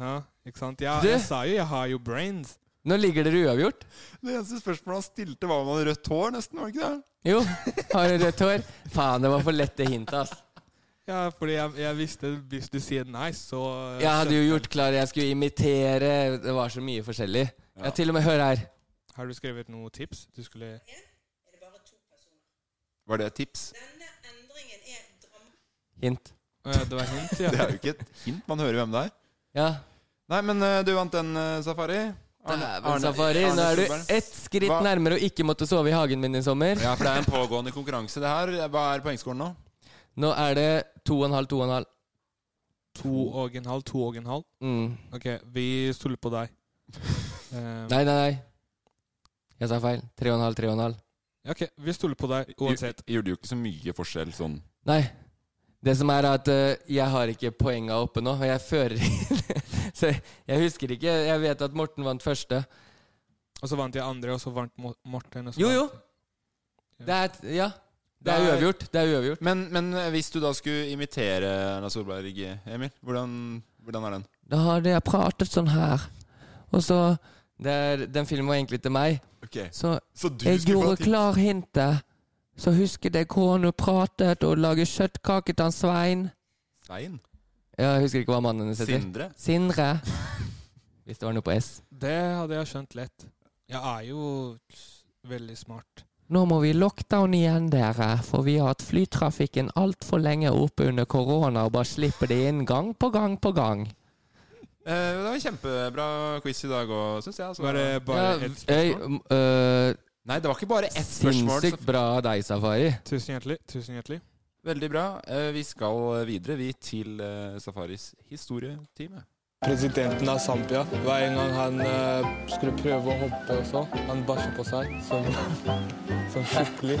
Speaker 6: Ja, ikke sant? Jeg,
Speaker 5: Du-
Speaker 6: jeg sa jo jeg har jo brains.
Speaker 5: Nå ligger dere uavgjort.
Speaker 4: Det eneste spørsmålet han stilte, var om han hadde rødt hår, nesten. var det ikke det?
Speaker 5: Jo, har du rødt hår? Faen, det var for lett det hintet, ass.
Speaker 6: Ja, fordi jeg, jeg visste hvis du sier nei, så eh,
Speaker 5: Jeg hadde jo gjort klar jeg skulle imitere. Det var så mye forskjellig. Ja, til og med hør her.
Speaker 6: Har du skrevet noen tips? Du skulle
Speaker 4: Var det et tips?
Speaker 5: Hint.
Speaker 6: Å ja, Det var hint,
Speaker 5: (laughs)
Speaker 6: ja.
Speaker 4: Det er jo ikke et hint. Man hører hvem det er.
Speaker 5: Ja.
Speaker 4: Nei, men eh, du vant den, eh, Safari.
Speaker 5: Dæven safari. Nå er du
Speaker 4: Solberg.
Speaker 5: ett skritt
Speaker 4: Hva-
Speaker 5: nærmere å ikke måtte sove i hagen min i sommer.
Speaker 4: Ja, for det er en pågående konkurranse, det her. Hva er poengskåren nå?
Speaker 5: Nå er det to og en halv, to og en halv.
Speaker 6: To og en halv, to og en halv.
Speaker 5: Mm.
Speaker 6: Ok, vi stoler på
Speaker 5: (laughs)
Speaker 6: deg. Um,
Speaker 5: Nei, nei, nei. Jeg sa feil. Tre og en halv, tre og en halv.
Speaker 6: Ok, vi stoler på deg uansett.
Speaker 4: Gjorde jo ikke så mye forskjell sånn.
Speaker 5: Nei. Det som er at eh, jeg har ikke poenga oppe nå, og jeg fører (laughs) Så jeg husker ikke. Jeg vet at Morten vant første.
Speaker 6: Og så vant jeg andre, og så vant Mo- Morten. Og så
Speaker 5: Jo,
Speaker 6: vant-
Speaker 5: jo. Det er Ja. Det er uavgjort. Det er uavgjort.
Speaker 4: Men, men eh, hvis du da skulle imitere Erna Solberg, Emil, hvordan, hvordan er den?
Speaker 5: Da hadde jeg pratet sånn her. Og så det er, Den filmen var egentlig til meg.
Speaker 4: Ok,
Speaker 5: Så
Speaker 4: Så du
Speaker 5: jeg gjorde klar hintet. Så husket jeg hvordan hun pratet og lage kjøttkake til han Svein.
Speaker 4: Stein?
Speaker 5: Ja, jeg husker ikke hva mannen hennes heter.
Speaker 4: Sindre?
Speaker 5: Sindre. Hvis det var noe på S.
Speaker 6: Det hadde jeg skjønt lett. Jeg er jo veldig smart.
Speaker 5: Nå må vi lockdown igjen, dere, for vi har hatt flytrafikken altfor lenge oppe under korona og bare slipper det inn gang på gang på gang.
Speaker 4: Eh, det var en kjempebra quiz i dag òg, syns jeg. Altså.
Speaker 6: Var det bare
Speaker 5: Ja,
Speaker 6: ett spørsmål?
Speaker 5: øy, m- øh,
Speaker 4: Nei, det var ikke bare ett spørsmål.
Speaker 5: sinnssykt bra av deg, Safari.
Speaker 6: Tusen hjertelig. Tusen hjertelig.
Speaker 4: så- Veldig bra. Eh, vi skal videre, vi, til eh, Safaris historietime.
Speaker 8: Presidenten av Zambia, hver en gang han eh, skulle prøve å hoppe (laughs) og så, han bæsja på seg som, som skikkelig.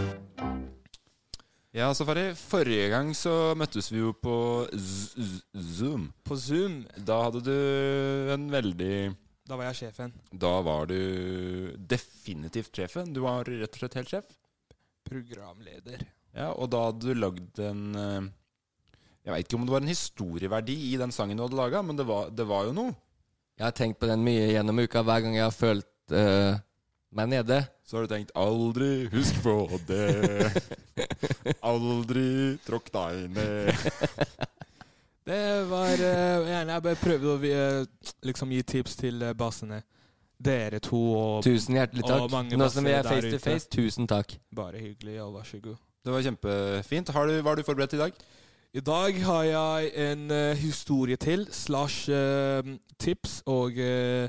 Speaker 4: Ja, Safari. Forrige gang så møttes vi jo på Z Z Zoom.
Speaker 6: På Zoom?
Speaker 4: Da hadde du en veldig
Speaker 6: Da var jeg sjefen.
Speaker 4: Da var du definitivt sjefen. Du var rett og slett helt sjef.
Speaker 6: Programleder.
Speaker 4: Ja, Og da hadde du lagd en eh, Jeg veit ikke om det var en historieverdi i den sangen du hadde laga, men det var, det var jo noe.
Speaker 5: Jeg har tenkt på den mye gjennom uka. Hver gang jeg har følt eh, meg nede.
Speaker 4: Så har du tenkt 'aldri husk på det'. (laughs) Aldri tråkk deg ned.
Speaker 6: Det var eh, gjerne Jeg bare prøvde å eh, liksom gi tips til eh, bassene. Dere to og
Speaker 5: Tusen hjertelig takk.
Speaker 6: og mange
Speaker 5: Nå som vi
Speaker 6: bassere
Speaker 5: er face
Speaker 6: der
Speaker 5: to
Speaker 6: ute.
Speaker 5: face, tusen takk.
Speaker 6: Bare hyggelig, og vær så god.
Speaker 4: Det var kjempefint. Har du, hva har du forberedt i dag?
Speaker 6: I dag har jeg en eh, historie til, slash eh, tips og eh,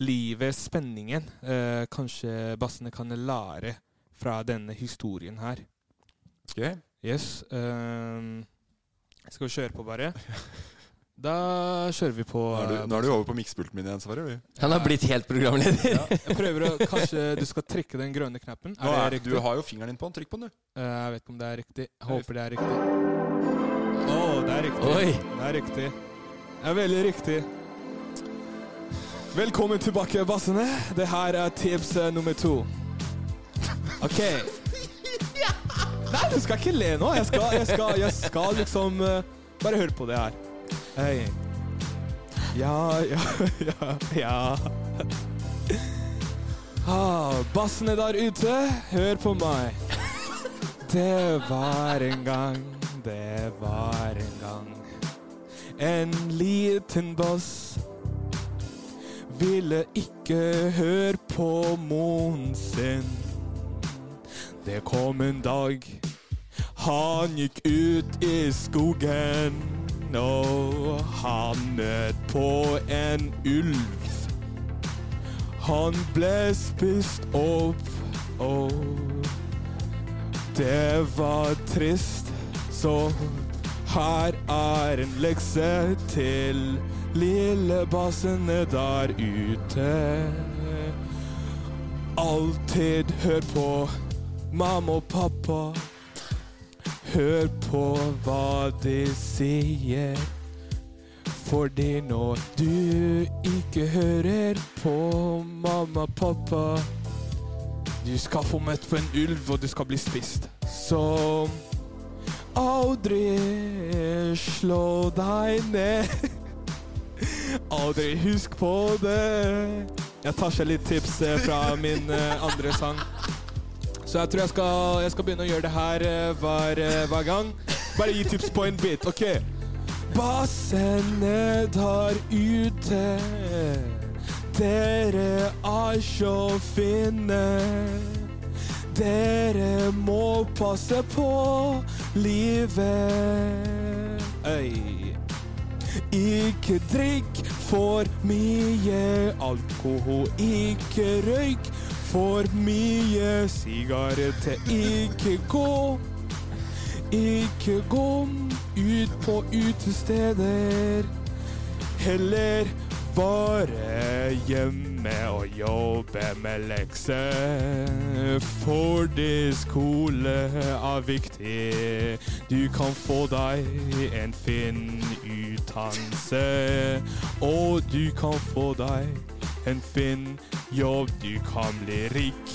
Speaker 6: livet, spenningen. Eh, kanskje bassene kan lære fra denne historien her.
Speaker 4: Ok.
Speaker 6: Yes. eh, skal vi kjøre på,
Speaker 4: (laughs)
Speaker 6: bare? Da kjører vi på.
Speaker 4: Nå er du,
Speaker 6: eh,
Speaker 4: nå er du over på mikspulten min igjen, Sverre. eller?
Speaker 5: Han har blitt helt programleder.
Speaker 6: (laughs)
Speaker 5: (laughs)
Speaker 6: Ja, jeg prøver å, Kanskje du skal trykke den grønne knappen?
Speaker 4: Nå
Speaker 6: Er
Speaker 4: er,
Speaker 6: det
Speaker 4: du
Speaker 6: riktig?
Speaker 4: har jo fingeren din på den. Trykk på den, du.
Speaker 6: Eh, Jeg vet ikke om det er riktig. Jeg håper det er riktig. Å, det er riktig.
Speaker 5: Oi.
Speaker 6: Det er riktig. Det er veldig riktig. Velkommen tilbake, bassene. Det her er tips eh, nummer to. OK. Nei, du skal ikke le nå. Jeg skal, jeg skal, jeg skal liksom eh, Bare hør på det her. Hei. Ja, ja, ja, ja. Ah, bassene der ute, hør på meg. Det var en gang, det var en gang. En liten bass ville ikke høre på moren sin. Det kom en dag, han gikk ut i skogen. Og han møtte på en ulv. Han ble spist opp, og det var trist. Så her er en lekse til lillebassene der ute. Alltid hør på mamma og pappa. Hør på hva de sier. Fordi når du ikke hører på mamma og pappa Du skal få møtt på en ulv, og du skal bli spist. Som aldri slå deg ned. (laughs) Aldri husk på det. Jeg tar seg litt tips eh, fra min eh, andre sang. Så jeg tror jeg skal, jeg skal begynne å gjøre det her eh, hver, eh, hver gang. Bare gi tips på en bit. OK. Bassene der ute, dere er så fine. Dere må passe på livet. Øy. Ikke drikk for mye alkohol. Ikke røyk for mye sigaretter. Ikke gå. Ikke gå ut på utesteder. Heller bare hjemme og jobbe med lekser. Fordi skole er viktig. Du kan få deg en fin utdannelse. Og du kan få deg en fin jobb. Du kan bli rik.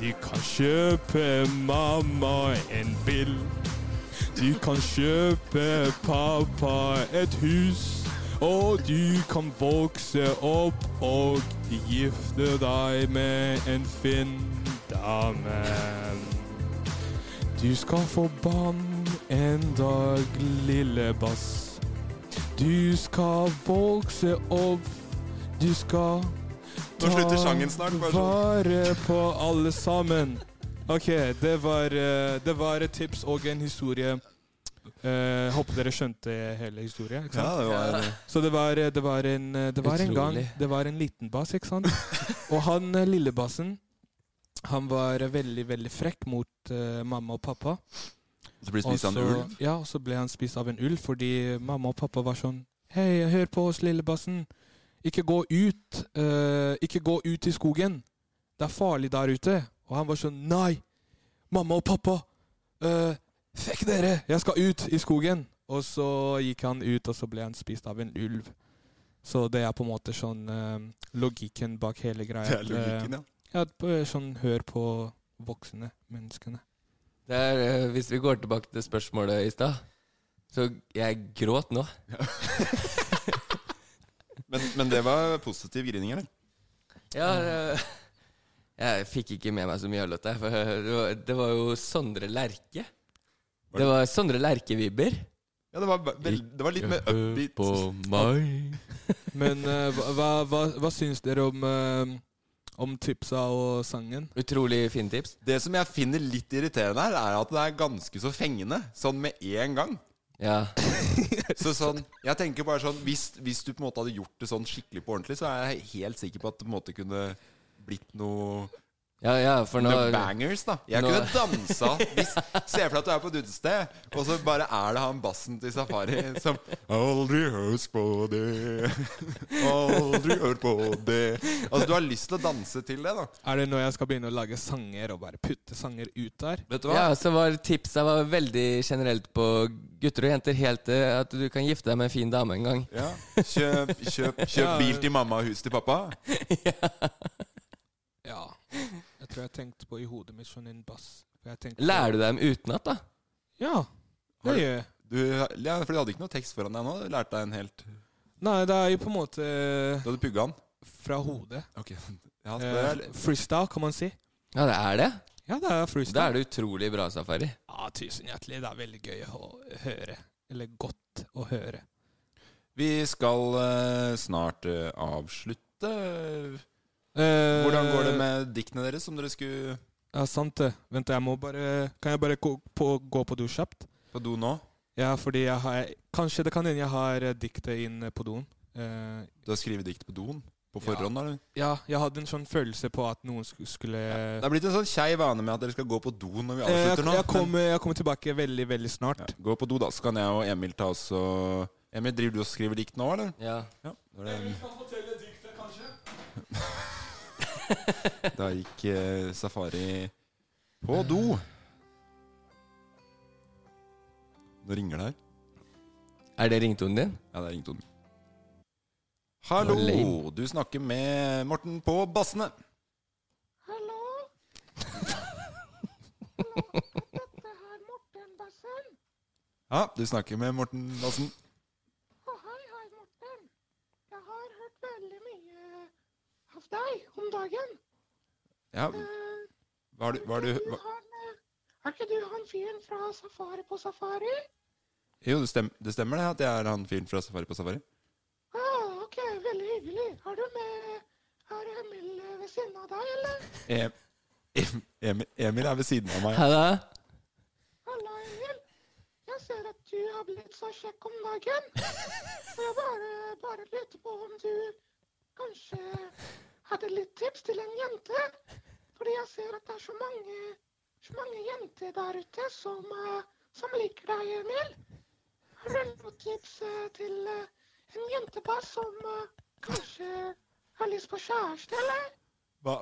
Speaker 6: Du kan kjøpe mamma en bil. Du kan kjøpe pappa et hus. Og du kan vokse opp og gifte deg med en fin dame. Du skal få barn en dag, lille bass. Du skal vokse opp. Du skal
Speaker 4: Nå slutter sangen snart, bare sånn.
Speaker 6: vare på alle sammen. OK, det var, eh, det var et tips og en historie. Eh, håper dere skjønte hele historien. Ikke sant?
Speaker 4: Ja, det var- Ja.
Speaker 6: Så det var, eh, det var, en, eh, det var en gang
Speaker 5: Utrolig.
Speaker 6: Det var en liten bass, ikke sant? Og han eh, lille bassen, han var eh, veldig, veldig frekk mot eh, mamma og pappa.
Speaker 4: Så ble han spist av en
Speaker 6: Og så-
Speaker 4: ulv?
Speaker 6: Ja, og så ble han spist av en ulv fordi mamma og pappa var sånn Hei, hør på oss, lille bassen. Ikke gå ut. eh, ikke gå ut i skogen. Det er farlig der ute. Og han var sånn Nei! Mamma og pappa! eh, Fikk dere! Jeg skal ut i skogen! Og så gikk han ut, og så ble han spist av en ulv. Så det er på en måte sånn eh, logikken bak hele greia.
Speaker 4: Det er logikken, ja.
Speaker 6: ja. på- Sånn hør på voksne menneskene.
Speaker 5: Det er, eh, hvis vi går tilbake til spørsmålet i stad, så jeg gråt
Speaker 6: (laughs)
Speaker 5: nå.
Speaker 4: Men, men det var positiv grining, eller?
Speaker 5: Ja, eh, (laughs) jeg fikk ikke med meg så mye av låta. For det var, det var jo Sondre Lerche. Det var Sondre Lerche-vibber.
Speaker 4: Ja, det var, vel- det var litt mer upbeat.
Speaker 6: Men eh, hva, hva, hva, hva syns dere om, eh, om tipsa og sangen?
Speaker 5: Utrolig fine tips.
Speaker 4: Det som jeg finner litt irriterende her, er at det er ganske så fengende. Sånn med en gang.
Speaker 5: Ja.
Speaker 4: så sånn, jeg tenker bare sånn hvis, hvis du på en måte hadde gjort det sånn skikkelig på ordentlig, så er jeg helt sikker på at det på en måte kunne blitt noe
Speaker 5: Ja, ja, for nå
Speaker 4: Noe bangers, da. Jeg
Speaker 5: Nå-
Speaker 4: kunne dansa. Hvis, se for deg at du er på et utested, og så bare er det han bassen til Safari som Aldri husk på det, aldri hør på det Altså, du har lyst til å danse til det, da.
Speaker 6: Er det når jeg skal begynne å lage sanger og bare putte sanger ut der?
Speaker 4: Vet
Speaker 5: Ja, altså. så var tipsa var veldig generelt på gutter og jenter helt til at du kan gifte deg med en fin dame en gang.
Speaker 4: Ja. Kjøp, kjøp, kjøp bil til mamma og hus til pappa.
Speaker 6: Ja. Jeg tror jeg tenkte på i hodet mitt sånn en bass. For jeg tenkte-
Speaker 5: Lærer du dem utenat, da?
Speaker 6: Ja. Det
Speaker 4: Har du-
Speaker 6: gjør jeg.
Speaker 4: Du, ja, for du hadde ikke noe tekst foran deg nå? Du lærte deg en helt
Speaker 6: Nei, det er jo på en måte eh,
Speaker 4: Du hadde pugga den?
Speaker 6: fra hodet.
Speaker 4: Ok. Ja, det
Speaker 6: Eh,
Speaker 4: er-
Speaker 6: freestyle, kan man si.
Speaker 5: Ja, det er det.
Speaker 6: Ja, det er
Speaker 5: Da
Speaker 6: freestyle.
Speaker 5: er det utrolig bra safari.
Speaker 6: Ja, tusen hjertelig. Det er veldig gøy å høre. Eller godt å høre.
Speaker 4: Vi skal eh, snart eh, avslutte.
Speaker 6: Eh,
Speaker 4: Hvordan går det med diktene deres, som dere skulle
Speaker 6: Ja, sant det. Vent, jeg må bare Kan jeg bare gå på, gå på do kjapt?
Speaker 4: på do nå?
Speaker 6: Ja, fordi jeg har Kanskje det kan hende jeg har eh, diktet inn eh, på doen. Eh,
Speaker 4: Du har skrevet dikt på doen? På
Speaker 6: Ja.
Speaker 4: forhånd, eller?
Speaker 6: ja, jeg hadde en sånn følelse på at noen sk- skulle
Speaker 4: Det er blitt en sånn kjei vane med at dere skal gå på do når vi
Speaker 6: Eh, jeg,
Speaker 4: avslutter nå.
Speaker 6: jeg, kommer, jeg kommer tilbake veldig, veldig snart.
Speaker 4: Men gå på do, da. Så kan jeg og Emil ta oss og Emil, driver du og skriver dikt nå, eller?
Speaker 5: Ja.
Speaker 4: Ja. Da, er det-
Speaker 6: kan fortelle diktet, kanskje?
Speaker 4: da gikk eh, Safari på
Speaker 6: Eh.
Speaker 4: do. Nå ringer det her.
Speaker 5: Er det ringtonen din?
Speaker 4: Ja, det er ringtonen. Hallo!
Speaker 5: Det var lame.
Speaker 4: Du snakker med Morten på Bassene.
Speaker 11: Hallo? Hallo, dette her Morten Bassen.
Speaker 4: Ja, du snakker med Morten Bassen.
Speaker 11: Å, hei, hei, Morten. Jeg har hørt veldig mye av deg om dagen.
Speaker 4: Ja,
Speaker 11: Eh,
Speaker 4: hva har du, hva har du hva?
Speaker 11: han, eh, er ikke du han fyren fra Safari på Safari?
Speaker 4: Jo, det stemmer, det stemmer det, at jeg er han fyren fra Safari på Safari.
Speaker 11: Ja,
Speaker 10: Oh,
Speaker 11: ok, veldig hyggelig. Er du med Er Emil eh, ved siden av deg, eller?
Speaker 4: Em- Em- Emil, Emil er ved siden av meg.
Speaker 5: Hallo?
Speaker 11: Halla, Emil. Jeg ser at du har blitt så kjekk om dagen. Så jeg bare, bare lurte på om du kanskje hadde litt tips til en jente. Fordi jeg ser at det er så mange, så mange jenter der ute som, eh, som liker deg, Emil. Har du noen tips eh, til eh, en jente bare som eh, kanskje har lyst på kjæreste, eller?
Speaker 4: Hva,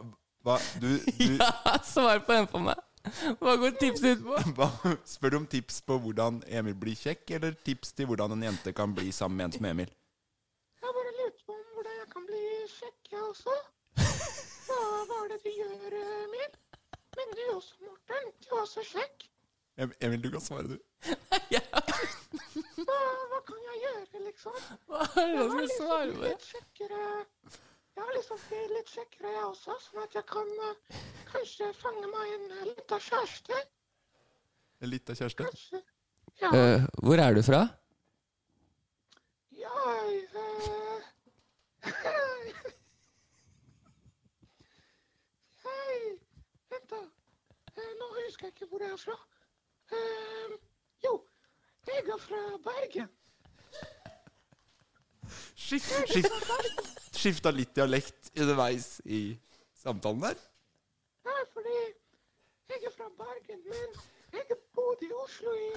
Speaker 4: hva du, du
Speaker 5: Ja, svar på den for meg! Hva går tipset ut på?
Speaker 4: hva, Spør du om tips på hvordan Emil blir kjekk, eller tips til hvordan en jente kan bli sammen med en som Emil?
Speaker 11: Jeg bare lurte på om hvordan jeg kan bli kjekk, jeg
Speaker 4: (laughs)
Speaker 11: også. Hva hva er det du gjør, Emil? Men du også, Morten. Du er også kjekk.
Speaker 4: Em- Emil, du kan svare, du.
Speaker 11: Hva, hva kan jeg gjøre, liksom?
Speaker 5: Hva er det
Speaker 11: Jeg har
Speaker 5: du
Speaker 11: lyst til å
Speaker 5: svarer
Speaker 11: bli
Speaker 5: på?
Speaker 11: litt kjekkere. Jeg har lyst til å bli litt kjekkere, jeg også, sånn at jeg kan eh, kanskje fange meg en eh, liten kjæreste.
Speaker 4: Litt av kjæreste.
Speaker 11: Kanskje. Ja,
Speaker 5: Eh, hvor er du fra?
Speaker 11: ja eh, Hei! Vent, da. Eh, nå husker jeg ikke hvor jeg er fra.
Speaker 10: Um,
Speaker 11: Eh, jo, jeg er fra Bergen. (laughs)
Speaker 4: Skift, skift, skifta litt dialekt underveis i samtalen der.
Speaker 11: Nei, fordi jeg er fra Bergen, men jeg har bodd i Oslo i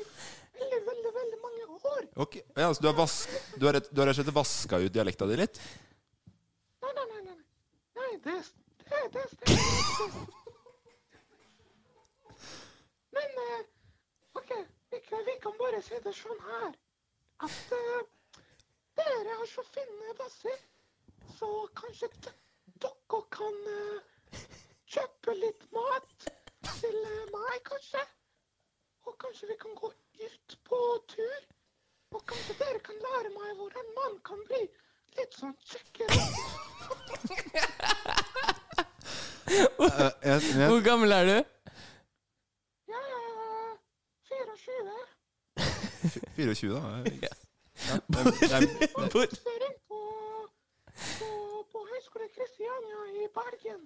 Speaker 11: veldig, veldig, veldig mange år.
Speaker 4: Ok, ja, altså, du, har vask, du, har rett, du har rett og slett vaska ut dialekta di litt?
Speaker 11: Nei, nei, nei, nei. nei. Nei, det, det, det stemmer ikke. Men eh, For vi kan bare si det sånn her at eh, dere har så fine basser, så kanskje d- dere kan eh, kjøpe litt mat til eh, meg, kanskje? Og kanskje vi kan gå ut på tur? Og kanskje dere kan lære meg hvordan man kan bli litt sånn kjekkere?
Speaker 4: Eh,
Speaker 5: Hvor gammel er du?
Speaker 11: Jeg er 24.
Speaker 4: 24, da.
Speaker 5: Ja.
Speaker 4: det er- det er-
Speaker 11: Hvor? På, på, på Høgskole Kristiania i Bergen.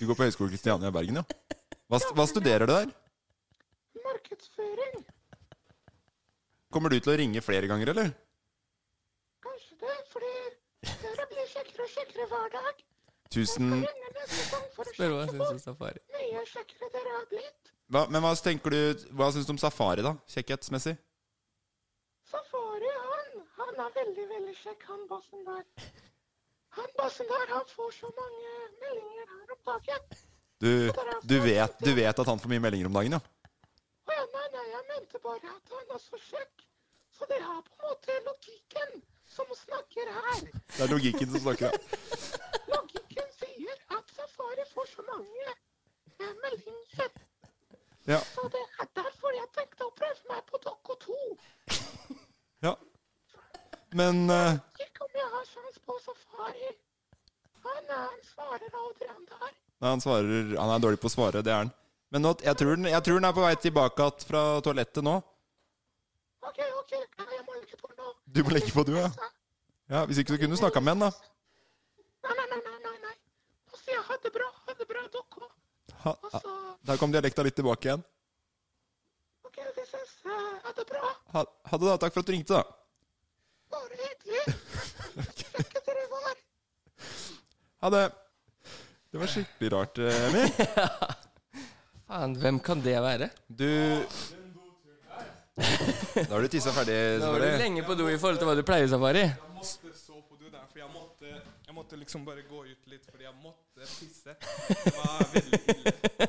Speaker 4: Du går på Høgskolen Kristiania i Bergen, ja? Hva, hva studerer du der?
Speaker 11: Markedsføring.
Speaker 4: Kommer du til å ringe flere ganger, eller?
Speaker 11: Kanskje det, fordi dere blir kjekkere og kjekkere hver dag.
Speaker 4: Tusen
Speaker 11: Ringe neste gang for å
Speaker 5: Spør hva jeg
Speaker 11: sjekke
Speaker 5: synes
Speaker 11: hvor
Speaker 5: om safari.
Speaker 11: mye kjekkere dere har blitt.
Speaker 4: hva, Men hva tenker du Hva syns du om safari, da? Kjekkhetsmessig?
Speaker 11: Safari, han, han er veldig, veldig kjekk, han bassen der. Han bassen der, han får så mange meldinger her om dagen.
Speaker 4: Du, du, vet, du vet at han får mye meldinger om dagen, ja?
Speaker 11: Å ja, nei, nei, jeg mente bare at han er så kjekk. Så det er på en måte logikken som snakker her.
Speaker 4: Det er logikken som snakker, ja.
Speaker 11: Logikken sier at Safari får så mange eh, meldinger.
Speaker 4: Ja.
Speaker 11: Så det er derfor jeg tenkte å prøve meg på dere to.
Speaker 4: ja. Men eh,
Speaker 11: Ikke om jeg har sjans på Safari. Han er en svarer aldri han der.
Speaker 4: Nei, han svarer Han er dårlig på å svare, det er han. Men nå, jeg, tror den, jeg tror den er på vei tilbake att fra toalettet nå.
Speaker 11: OK, OK, nei, jeg må legge på nå.
Speaker 4: Du må legge på, du, ja. ja hvis ikke så kunne du snakka med han, da.
Speaker 11: Nei, nei, nei, nei, nei. nei. Nå sier jeg ha det bra, ha det bra, dere.
Speaker 4: Ha, ha. Der kom dialekta litt tilbake igjen.
Speaker 11: OK, vi ses. eh, Ha det bra.
Speaker 4: Ha, ha det, da. Takk for at du ringte, da.
Speaker 11: Bare hyggelig. Kjekke dere var.
Speaker 4: Ha det. Det var skikkelig rart, eh, Emil.
Speaker 5: Faen, hvem kan det være?
Speaker 4: Du (laughs) Da har du tissa ferdig,
Speaker 5: Nå var du
Speaker 4: Snorre.
Speaker 5: lenge på do i forhold til hva du pleier, Safari.
Speaker 6: Jeg måtte så på do der, for jeg måtte, jeg måtte liksom bare gå ut litt, fordi jeg måtte pisse. Det var veldig ille.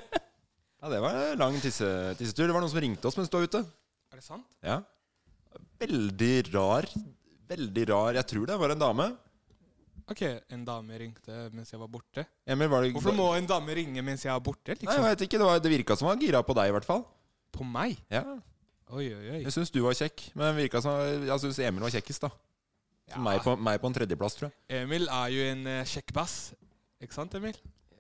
Speaker 4: Ja, det var en lang tisse, tissetur. Det var noen som ringte oss mens du var ute.
Speaker 6: Er det sant?
Speaker 4: Ja. Veldig rar. Veldig rar. Jeg tror det var en dame.
Speaker 6: OK, en dame ringte mens jeg var borte.
Speaker 4: Emil, var det
Speaker 6: Hvorfor må en dame ringe mens jeg er borte,
Speaker 4: Nei, jeg
Speaker 6: liksom?
Speaker 4: vet ikke. Det, var, det virka som han var gira på deg, i hvert fall.
Speaker 6: På meg?
Speaker 4: Ja.
Speaker 6: Oi, oi, oi.
Speaker 4: Jeg syns du var kjekk, men det virka som Jeg syns Emil var kjekkest, da. Så Meg, på, meg på en tredjeplass, tror jeg.
Speaker 6: Emil er jo en eh, kjekk bass. Ikke sant, Emil?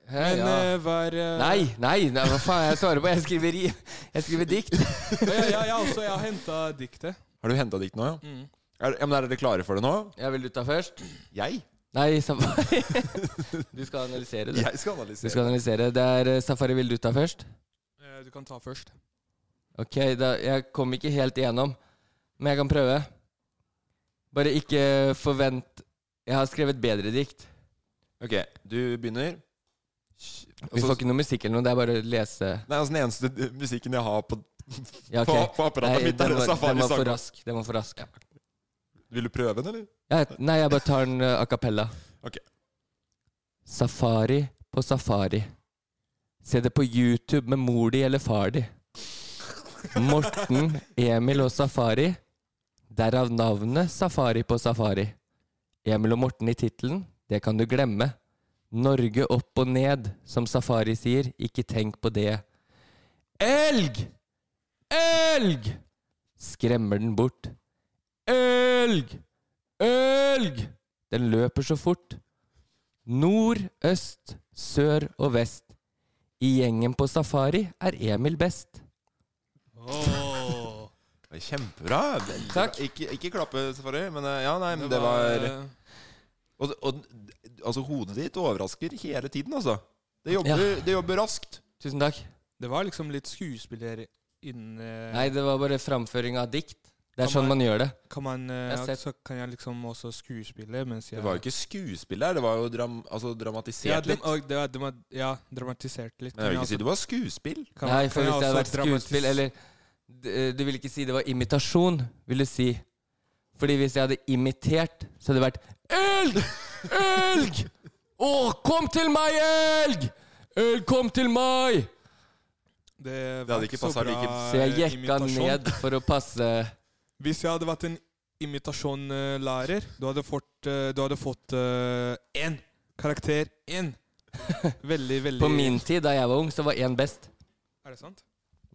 Speaker 5: Hæ,
Speaker 6: Men
Speaker 5: ja.
Speaker 6: eh, var eh,
Speaker 5: Nei, nei, nei, hva faen? Jeg svarer på Jeg skriver, i- jeg skriver dikt.
Speaker 6: (laughs) Ja, ja, ja, ja, også, jeg har henta diktet.
Speaker 4: Har du henta dikt nå, ja?
Speaker 6: Mm.
Speaker 4: Er, ja, men er dere klare for det nå?
Speaker 5: Jeg vil du ta først?
Speaker 4: Jeg?
Speaker 5: Nei, Safari. (laughs) Du skal analysere, du.
Speaker 4: Jeg skal
Speaker 5: Du
Speaker 4: analysere.
Speaker 5: skal analysere. Det er eh, Safari, vil du ta først?
Speaker 6: Eh, Du kan ta først.
Speaker 5: Ok, da, jeg kom ikke helt igjennom, men jeg kan prøve. Bare ikke forvent Jeg har skrevet bedre dikt.
Speaker 4: Ok, du begynner.
Speaker 5: Vi får ikke noe musikk eller noe, det er bare å lese.
Speaker 4: Nei, altså Den eneste d- musikken jeg har på,
Speaker 5: Ja, ok.
Speaker 4: på, på apparatet
Speaker 5: Nei,
Speaker 4: mitt, er
Speaker 5: den var- Den var
Speaker 4: Safari-sang.
Speaker 5: for rask. Den var for rask.
Speaker 4: Vil du prøve den, eller?
Speaker 5: Ja, nei, jeg bare tar den eh, a cappella.
Speaker 4: Ok.
Speaker 5: Safari på safari. Se det på YouTube med mor di eller far di. Morten, Emil og Safari. Derav navnet Safari på safari. Emil og Morten i tittelen, det kan du glemme. Norge opp og ned, som Safari sier, ikke tenk på det. Elg! Elg! Skremmer den bort. Elg! Elg! Den løper så fort. Nord, øst, sør og vest. I gjengen på safari er Emil best.
Speaker 6: Åh.
Speaker 4: Det er Kjempebra. Veldig bra.
Speaker 5: Takk.
Speaker 4: Ikke, ikke klappe, Safari, men eh, ja, nei, men
Speaker 6: Det
Speaker 4: det
Speaker 6: var- eh,
Speaker 4: var Og, og altså, hodet ditt overrasker hele tiden, altså. Det jobber, det jobber raskt.
Speaker 5: Tusen takk.
Speaker 6: Det var liksom litt skuespiller eh, inne
Speaker 5: Nei, det var bare framføring av dikt. Det er
Speaker 6: Kan
Speaker 5: sånn
Speaker 6: man-
Speaker 5: man gjør det.
Speaker 6: Kan man, eh,
Speaker 5: Jeg har sett-
Speaker 6: så kan jeg liksom også skuespille mens jeg
Speaker 4: Det var jo ikke skuespill der, det var jo dram, altså, dramatisert
Speaker 6: ja, dem-
Speaker 4: litt.
Speaker 6: og det var, dem var- ja, dramatisert litt. altså,
Speaker 4: Men jeg vil ikke si det var skuespill.
Speaker 6: Kan-
Speaker 5: Nei,
Speaker 6: kan
Speaker 5: for
Speaker 6: jeg
Speaker 5: hvis det hadde vært
Speaker 6: også dramatis-
Speaker 5: skuespill Eller d- eh, du vil ikke si det var imitasjon, vil du si. Fordi hvis jeg hadde imitert, så hadde det vært Elg! Elg! Å, kom til meg, elg! Elg, kom til meg!
Speaker 4: Det
Speaker 6: Det,
Speaker 4: hadde ikke passet like-
Speaker 5: Så jeg jekka ned for å passe
Speaker 6: Hvis jeg hadde vært en imitasjonlærer, du hadde fått eh, Du hadde fått eh, én karakter.
Speaker 5: (laughs)
Speaker 6: Én! Veldig, veldig
Speaker 5: På min tid, da jeg var ung, så var én best.
Speaker 6: Er det sant?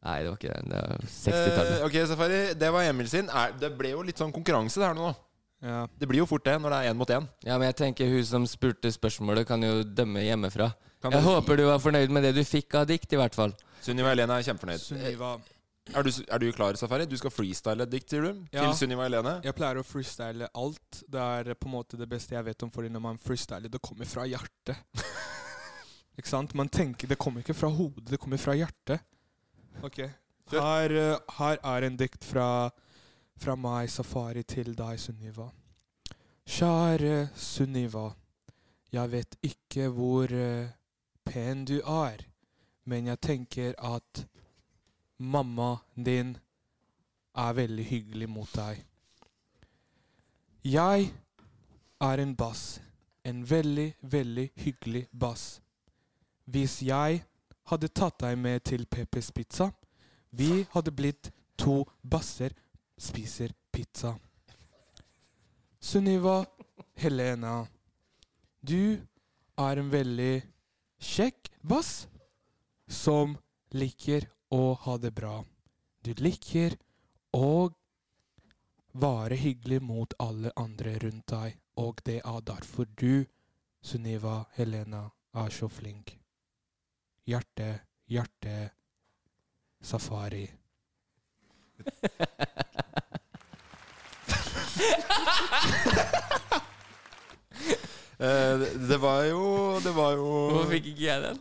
Speaker 5: Nei, det var ikke det. Det var 60-tallet.
Speaker 4: Eh, ok, Safari, det var Emil sin. Er, det ble jo litt sånn konkurranse det her nå. da. Det blir jo fort det når det er én mot én.
Speaker 5: Ja, men jeg tenker hun som spurte spørsmålet, kan jo dømme hjemmefra.
Speaker 4: Kan
Speaker 5: Jeg
Speaker 4: du-
Speaker 5: håper du var fornøyd med det du fikk av dikt, i hvert fall.
Speaker 4: Sunniva Helene er kjempefornøyd.
Speaker 6: Sunniva.
Speaker 4: Eh, Er, du, er du klar, Safari? Du skal freestyle et dikt til du?
Speaker 6: Ja.
Speaker 4: Til Sunniva Helene?
Speaker 6: Jeg pleier å freestyle alt. Det er på en måte det beste jeg vet om, fordi når man freestyler, det kommer fra hjertet. ikke sant? Man tenker Det kommer ikke fra hodet, det kommer fra hjertet. Ok. Her, eh, her er en dikt fra, fra meg, Safari, til deg, Sunniva. Kjære Sunniva. Jeg vet ikke hvor eh, pen du er, men jeg tenker at mamma din er veldig hyggelig mot deg. Jeg er en bass. En veldig, veldig hyggelig bass. Hvis jeg hadde tatt deg med til Peppers Pizza, vi hadde blitt to basser spiser pizza. Sunniva Helena, du er en veldig kjekk bass som liker å ha det bra. Du liker å være hyggelig mot alle andre rundt deg, og det er derfor du, Sunniva Helena, er så flink. Hjerte, hjerte, safari.
Speaker 4: Eh, det- det var jo Det var jo
Speaker 5: Hvorfor fikk ikke jeg den?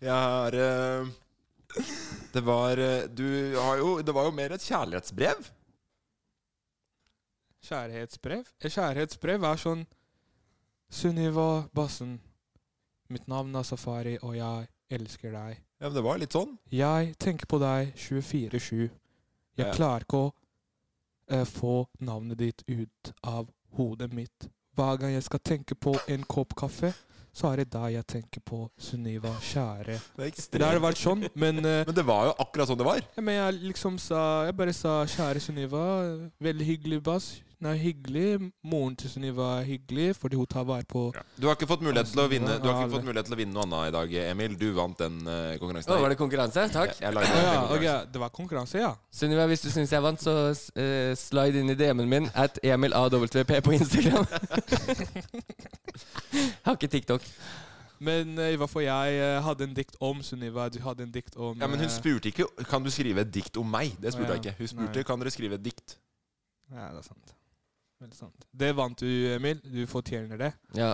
Speaker 4: Jeg har eh, Det var eh, Du har jo Det var jo mer et kjærlighetsbrev.
Speaker 6: Kjærhetsbrev? Et kjærhetsbrev er sånn Sunniva Bassen, mitt navn er Safari, og jeg elsker deg.
Speaker 4: Ja, men Det var litt sånn.
Speaker 6: Jeg tenker på deg 24-7. Jeg
Speaker 4: Ja.
Speaker 6: klarer ikke å eh, få navnet ditt ut av hodet mitt. Hver gang jeg skal tenke på en kopp kaffe, så er det deg jeg tenker på, Sunniva, kjære.
Speaker 4: Det er ekstremt.
Speaker 6: Det har vært sånn, men eh,
Speaker 4: Men det var jo akkurat sånn det var.
Speaker 6: ja, men jeg liksom sa Jeg bare sa 'kjære Sunniva', veldig hyggelig bass. Nei, hyggelig. Moren til Sunniva er hyggelig, fordi hun tar vare på
Speaker 4: Du har ikke fått mulighet til å vinne Du har
Speaker 6: Ja,
Speaker 4: ikke fått
Speaker 6: det-
Speaker 4: mulighet til å vinne noe annet i dag, Emil. Du vant den eh, konkurransen.
Speaker 5: Å, var det konkurranse? Takk.
Speaker 4: Jeg, jeg lagde
Speaker 6: Å
Speaker 4: en
Speaker 6: ja,
Speaker 4: konkurranse.
Speaker 6: ok, Det var konkurranse, ja.
Speaker 5: Sunniva, hvis du syns jeg vant, så eh, slide inn i DM-en min at EmilAWP på Instagram. (laughs) jeg har ikke TikTok.
Speaker 6: Men eh, i hvert fall jeg eh, hadde en dikt om Sunniva. Du hadde en dikt om
Speaker 4: Ja, Men hun
Speaker 6: eh,
Speaker 4: spurte ikke Kan du skrive et dikt om meg. Det spurte
Speaker 6: Å, ja.
Speaker 4: jeg ikke. Hun spurte
Speaker 6: Nei.
Speaker 4: kan dere skrive et dikt.
Speaker 6: Ja, det er sant. Veldig sant. Det vant du, Emil. Du fortjener det.
Speaker 5: Ja.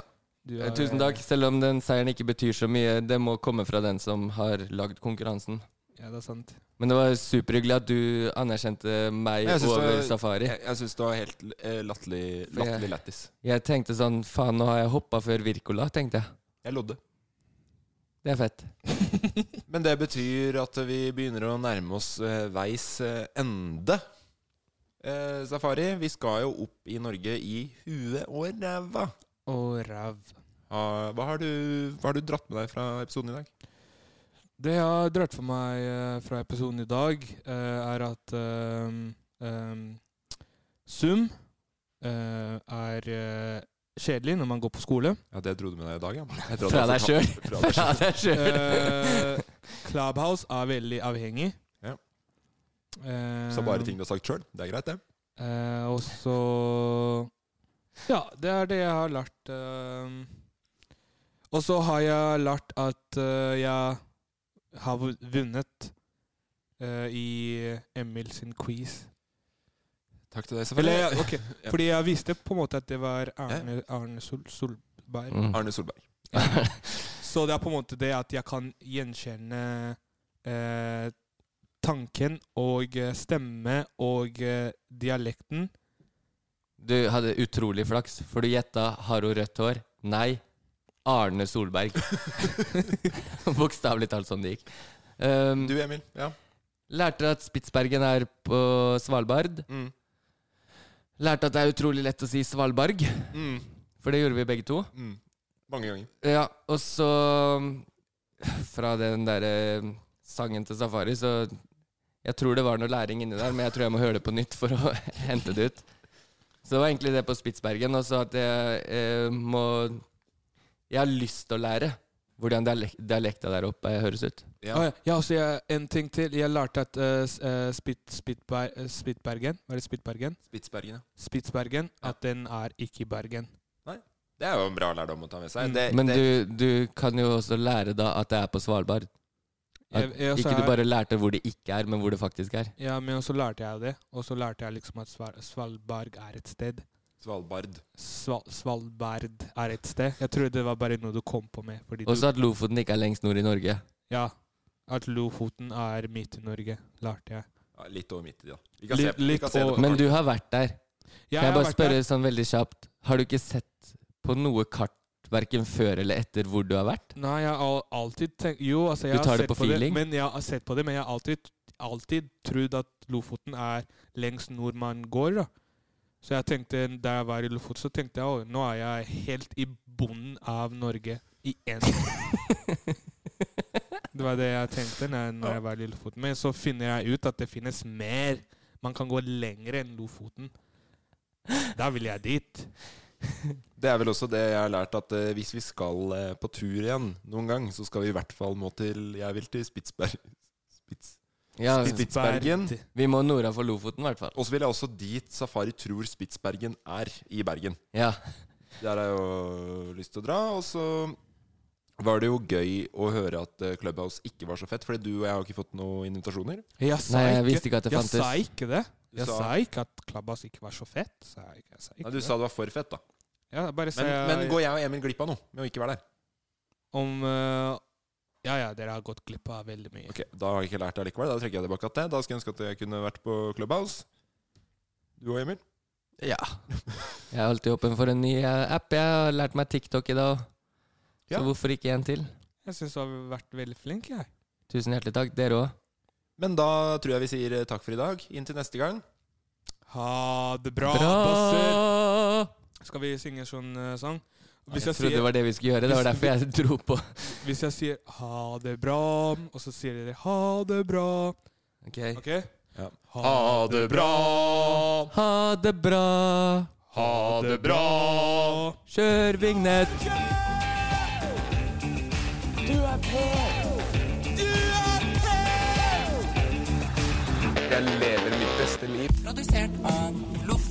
Speaker 6: Du
Speaker 5: Eh,
Speaker 6: er-
Speaker 5: Tusen takk, selv om den seieren ikke betyr så mye. Det må komme fra den som har lagd konkurransen.
Speaker 6: eh, Ja, det er sant.
Speaker 5: Men det var superhyggelig at du anerkjente meg
Speaker 4: Jeg syns
Speaker 5: over
Speaker 4: det var-
Speaker 5: Safari.
Speaker 4: Jeg, jeg syns det var helt eh, latterlig Latterlig lættis.
Speaker 5: Jeg tenkte sånn Faen, nå har jeg hoppa før Wirkola, tenkte jeg.
Speaker 4: Jeg lodde.
Speaker 5: Det er
Speaker 4: (laughs)
Speaker 5: fett.
Speaker 4: Men det betyr at vi begynner å nærme oss eh, veis eh, ende. Eh, Safari, vi skal jo opp i Norge i huet og ræva.
Speaker 6: Og ræv.
Speaker 4: Ah, hva, har du, hva har du dratt med deg fra episoden i dag?
Speaker 6: Det jeg har dratt for meg eh, fra episoden i dag, eh, er at eh, eh, sum eh, er eh, kjedelig når man går på
Speaker 4: (laughs)
Speaker 6: skole.
Speaker 4: Ja, Det dro altså du med deg i dag, ja. Jeg trodde
Speaker 5: Fra
Speaker 4: jeg
Speaker 5: deg sjøl.
Speaker 4: fortalte-
Speaker 5: Fra
Speaker 4: (laughs)
Speaker 5: deg
Speaker 6: Eh,
Speaker 5: sjøl.
Speaker 6: Clubhouse er veldig avhengig.
Speaker 4: Ja.
Speaker 6: Eh,
Speaker 4: Så bare ting du har sagt sjøl. Det er greit, det.
Speaker 6: Eh, og så Ja, det er det jeg har lært. ehm. og så har jeg lært at eh, jeg har vu- vunnet eh, i Emil sin quiz.
Speaker 4: Takk til deg,
Speaker 6: Eller,
Speaker 4: Safari.
Speaker 6: jeg- ok,
Speaker 4: Ja.
Speaker 6: Fordi jeg viste på en måte at det var Arne, Arne Sol, Solberg.
Speaker 5: Mm.
Speaker 4: Arne Solberg.
Speaker 6: Så det er på en måte det at jeg kan gjenkjenne eh, tanken og eh, stemme og eh, dialekten.
Speaker 5: (laughs) Du hadde utrolig flaks, for du gjetta 'Har hun rødt hår?' Nei. Arne Solberg. (laughs) Bokstavelig talt sånn det gikk. Um,
Speaker 4: Du, Emil. Ja.
Speaker 5: lærte at Spitsbergen er på Svalbard.
Speaker 4: Mm.
Speaker 5: Lærte at det er utrolig lett å si Svalbard,
Speaker 4: Mm.
Speaker 5: for det gjorde vi begge to.
Speaker 4: Mm. Mange ganger.
Speaker 5: Ja, og så Fra den derre sangen til Safari, så Jeg tror det var noe læring inni der, men jeg tror jeg må høre det på nytt for å (laughs) hente det ut. Så det var egentlig det på Spitsbergen. Og så at jeg eh, må Jeg har lyst til å lære hvordan dialek dialekta der oppe høres ut.
Speaker 6: Ja. ja. ja, også jeg, en ting til. Jeg lærte at eh, s- eh, Spit, Spitber, eh, Spitbergen Var det Spitbergen?
Speaker 4: Spitsbergen, ja.
Speaker 6: Spitsbergen. At den er ikke i Bergen.
Speaker 4: Det er jo en bra lærdom å ta med seg.
Speaker 6: Mm.
Speaker 4: Det,
Speaker 5: Men
Speaker 4: Eh,
Speaker 5: du,
Speaker 4: det,
Speaker 5: du kan jo også lære da at det er på Svalbard. At
Speaker 6: Jeg- jeg også
Speaker 5: ikke du
Speaker 6: er-
Speaker 5: bare lærte hvor det ikke er, men hvor det faktisk er.
Speaker 6: Ja, men så lærte jeg det. Og så lærte jeg liksom at Sval Svalbard er et sted.
Speaker 4: Svalbard.
Speaker 6: Sval Svalbard er et sted. Jeg trodde det var bare noe du kom på med. Fordi
Speaker 5: Også
Speaker 6: du,
Speaker 5: at Lofoten ikke er lengst nord i Norge.
Speaker 6: ja, at Lofoten er midt i Norge, lærte jeg.
Speaker 4: ja, litt over midt i, da. Vi kan se,
Speaker 6: Litt,
Speaker 4: vi
Speaker 6: litt
Speaker 4: kan se det
Speaker 6: over
Speaker 4: på
Speaker 5: Men
Speaker 4: kort.
Speaker 5: du har vært der. kan
Speaker 6: Ja, jeg
Speaker 5: jeg
Speaker 6: har
Speaker 5: bare
Speaker 6: vært
Speaker 5: spørre sånn veldig kjapt? Har du ikke sett på noe kart, verken før eller etter, hvor du har vært?
Speaker 6: Nei, jeg har al- alltid tenkt Jo, altså, jeg
Speaker 5: Du tar
Speaker 6: har
Speaker 5: det
Speaker 6: sett
Speaker 5: på feeling?
Speaker 6: men jeg har sett på det, men jeg har alltid, alltid trodd at Lofoten er lengst nord man går, da. Så jeg tenkte, da jeg var i Lofoten, så tenkte jeg å, nå er jeg helt i bunnen av Norge i én Det var det jeg tenkte når, jeg- når jeg var i Lofoten. Men så finner jeg ut at det finnes mer. Man kan gå lenger enn Lofoten. Da vil jeg dit.
Speaker 4: Det er vel også det jeg har lært, at eh, hvis vi skal eh, på tur igjen noen gang, så skal vi i hvert fall må til Jeg vil til Spitsberg. Spits.
Speaker 5: (laughs) Ja,
Speaker 4: Spitsbergen.
Speaker 5: Vi må norda for Lofoten, i hvert fall.
Speaker 4: Og så vil jeg også dit Safari tror Spitsbergen er i Bergen.
Speaker 5: Ja.
Speaker 4: Der har jeg jo lyst til å dra. Og så var det jo gøy å høre at eh, Clubhouse ikke var så fett, fordi du og jeg har ikke fått noen invitasjoner.
Speaker 6: Jeg sa
Speaker 5: Nei, jeg visste ikke at det
Speaker 6: jeg
Speaker 5: fantes.
Speaker 6: sa ikke det.
Speaker 4: Du
Speaker 6: Jeg
Speaker 4: sa-
Speaker 6: sa ikke at Klabbas ikke var så fett. Sa jeg, ikke. jeg sa ikke
Speaker 4: Nei, du
Speaker 6: det.
Speaker 4: sa det var for fett, da.
Speaker 6: ja, bare sa
Speaker 4: Men,
Speaker 6: jeg,
Speaker 4: men går jeg og Emil glipp av noe med å ikke være der?
Speaker 6: om eh, Ja ja, dere har gått glipp av veldig mye.
Speaker 4: Ok, Da har jeg ikke lært det likevel. Da trekker jeg tilbake at det. Da skulle jeg ønske at jeg kunne vært på Clubhouse. Du og Emil?
Speaker 5: Ja. Jeg er alltid åpen for en ny eh, app. Jeg har lært meg TikTok i dag. Så
Speaker 4: Ja.
Speaker 5: hvorfor ikke en til?
Speaker 6: Jeg syns du har vært veldig flink, jeg.
Speaker 5: Tusen hjertelig takk. Dere òg.
Speaker 4: Men da tror jeg vi sier eh, takk for i dag. Inntil neste gang.
Speaker 6: Ha det bra,
Speaker 5: Bra!
Speaker 6: Basser. Skal vi synge en sånn eh, sang? Hvis
Speaker 5: Jeg
Speaker 6: jeg,
Speaker 5: trodde det
Speaker 6: sier,
Speaker 5: var det vi skulle gjøre. Det var
Speaker 6: Hvis-
Speaker 5: derfor jeg dro på.
Speaker 6: hvis jeg sier 'ha det bra', og så sier dere 'ha det bra',
Speaker 5: Ok.
Speaker 6: OK?
Speaker 4: Ja.
Speaker 6: Ha det bra,
Speaker 5: Ha det bra.
Speaker 6: ha det bra.
Speaker 5: Kjør vignett.
Speaker 3: Du er på! Du er på!
Speaker 7: Jeg lever mitt beste liv.
Speaker 3: Produsert av Loff.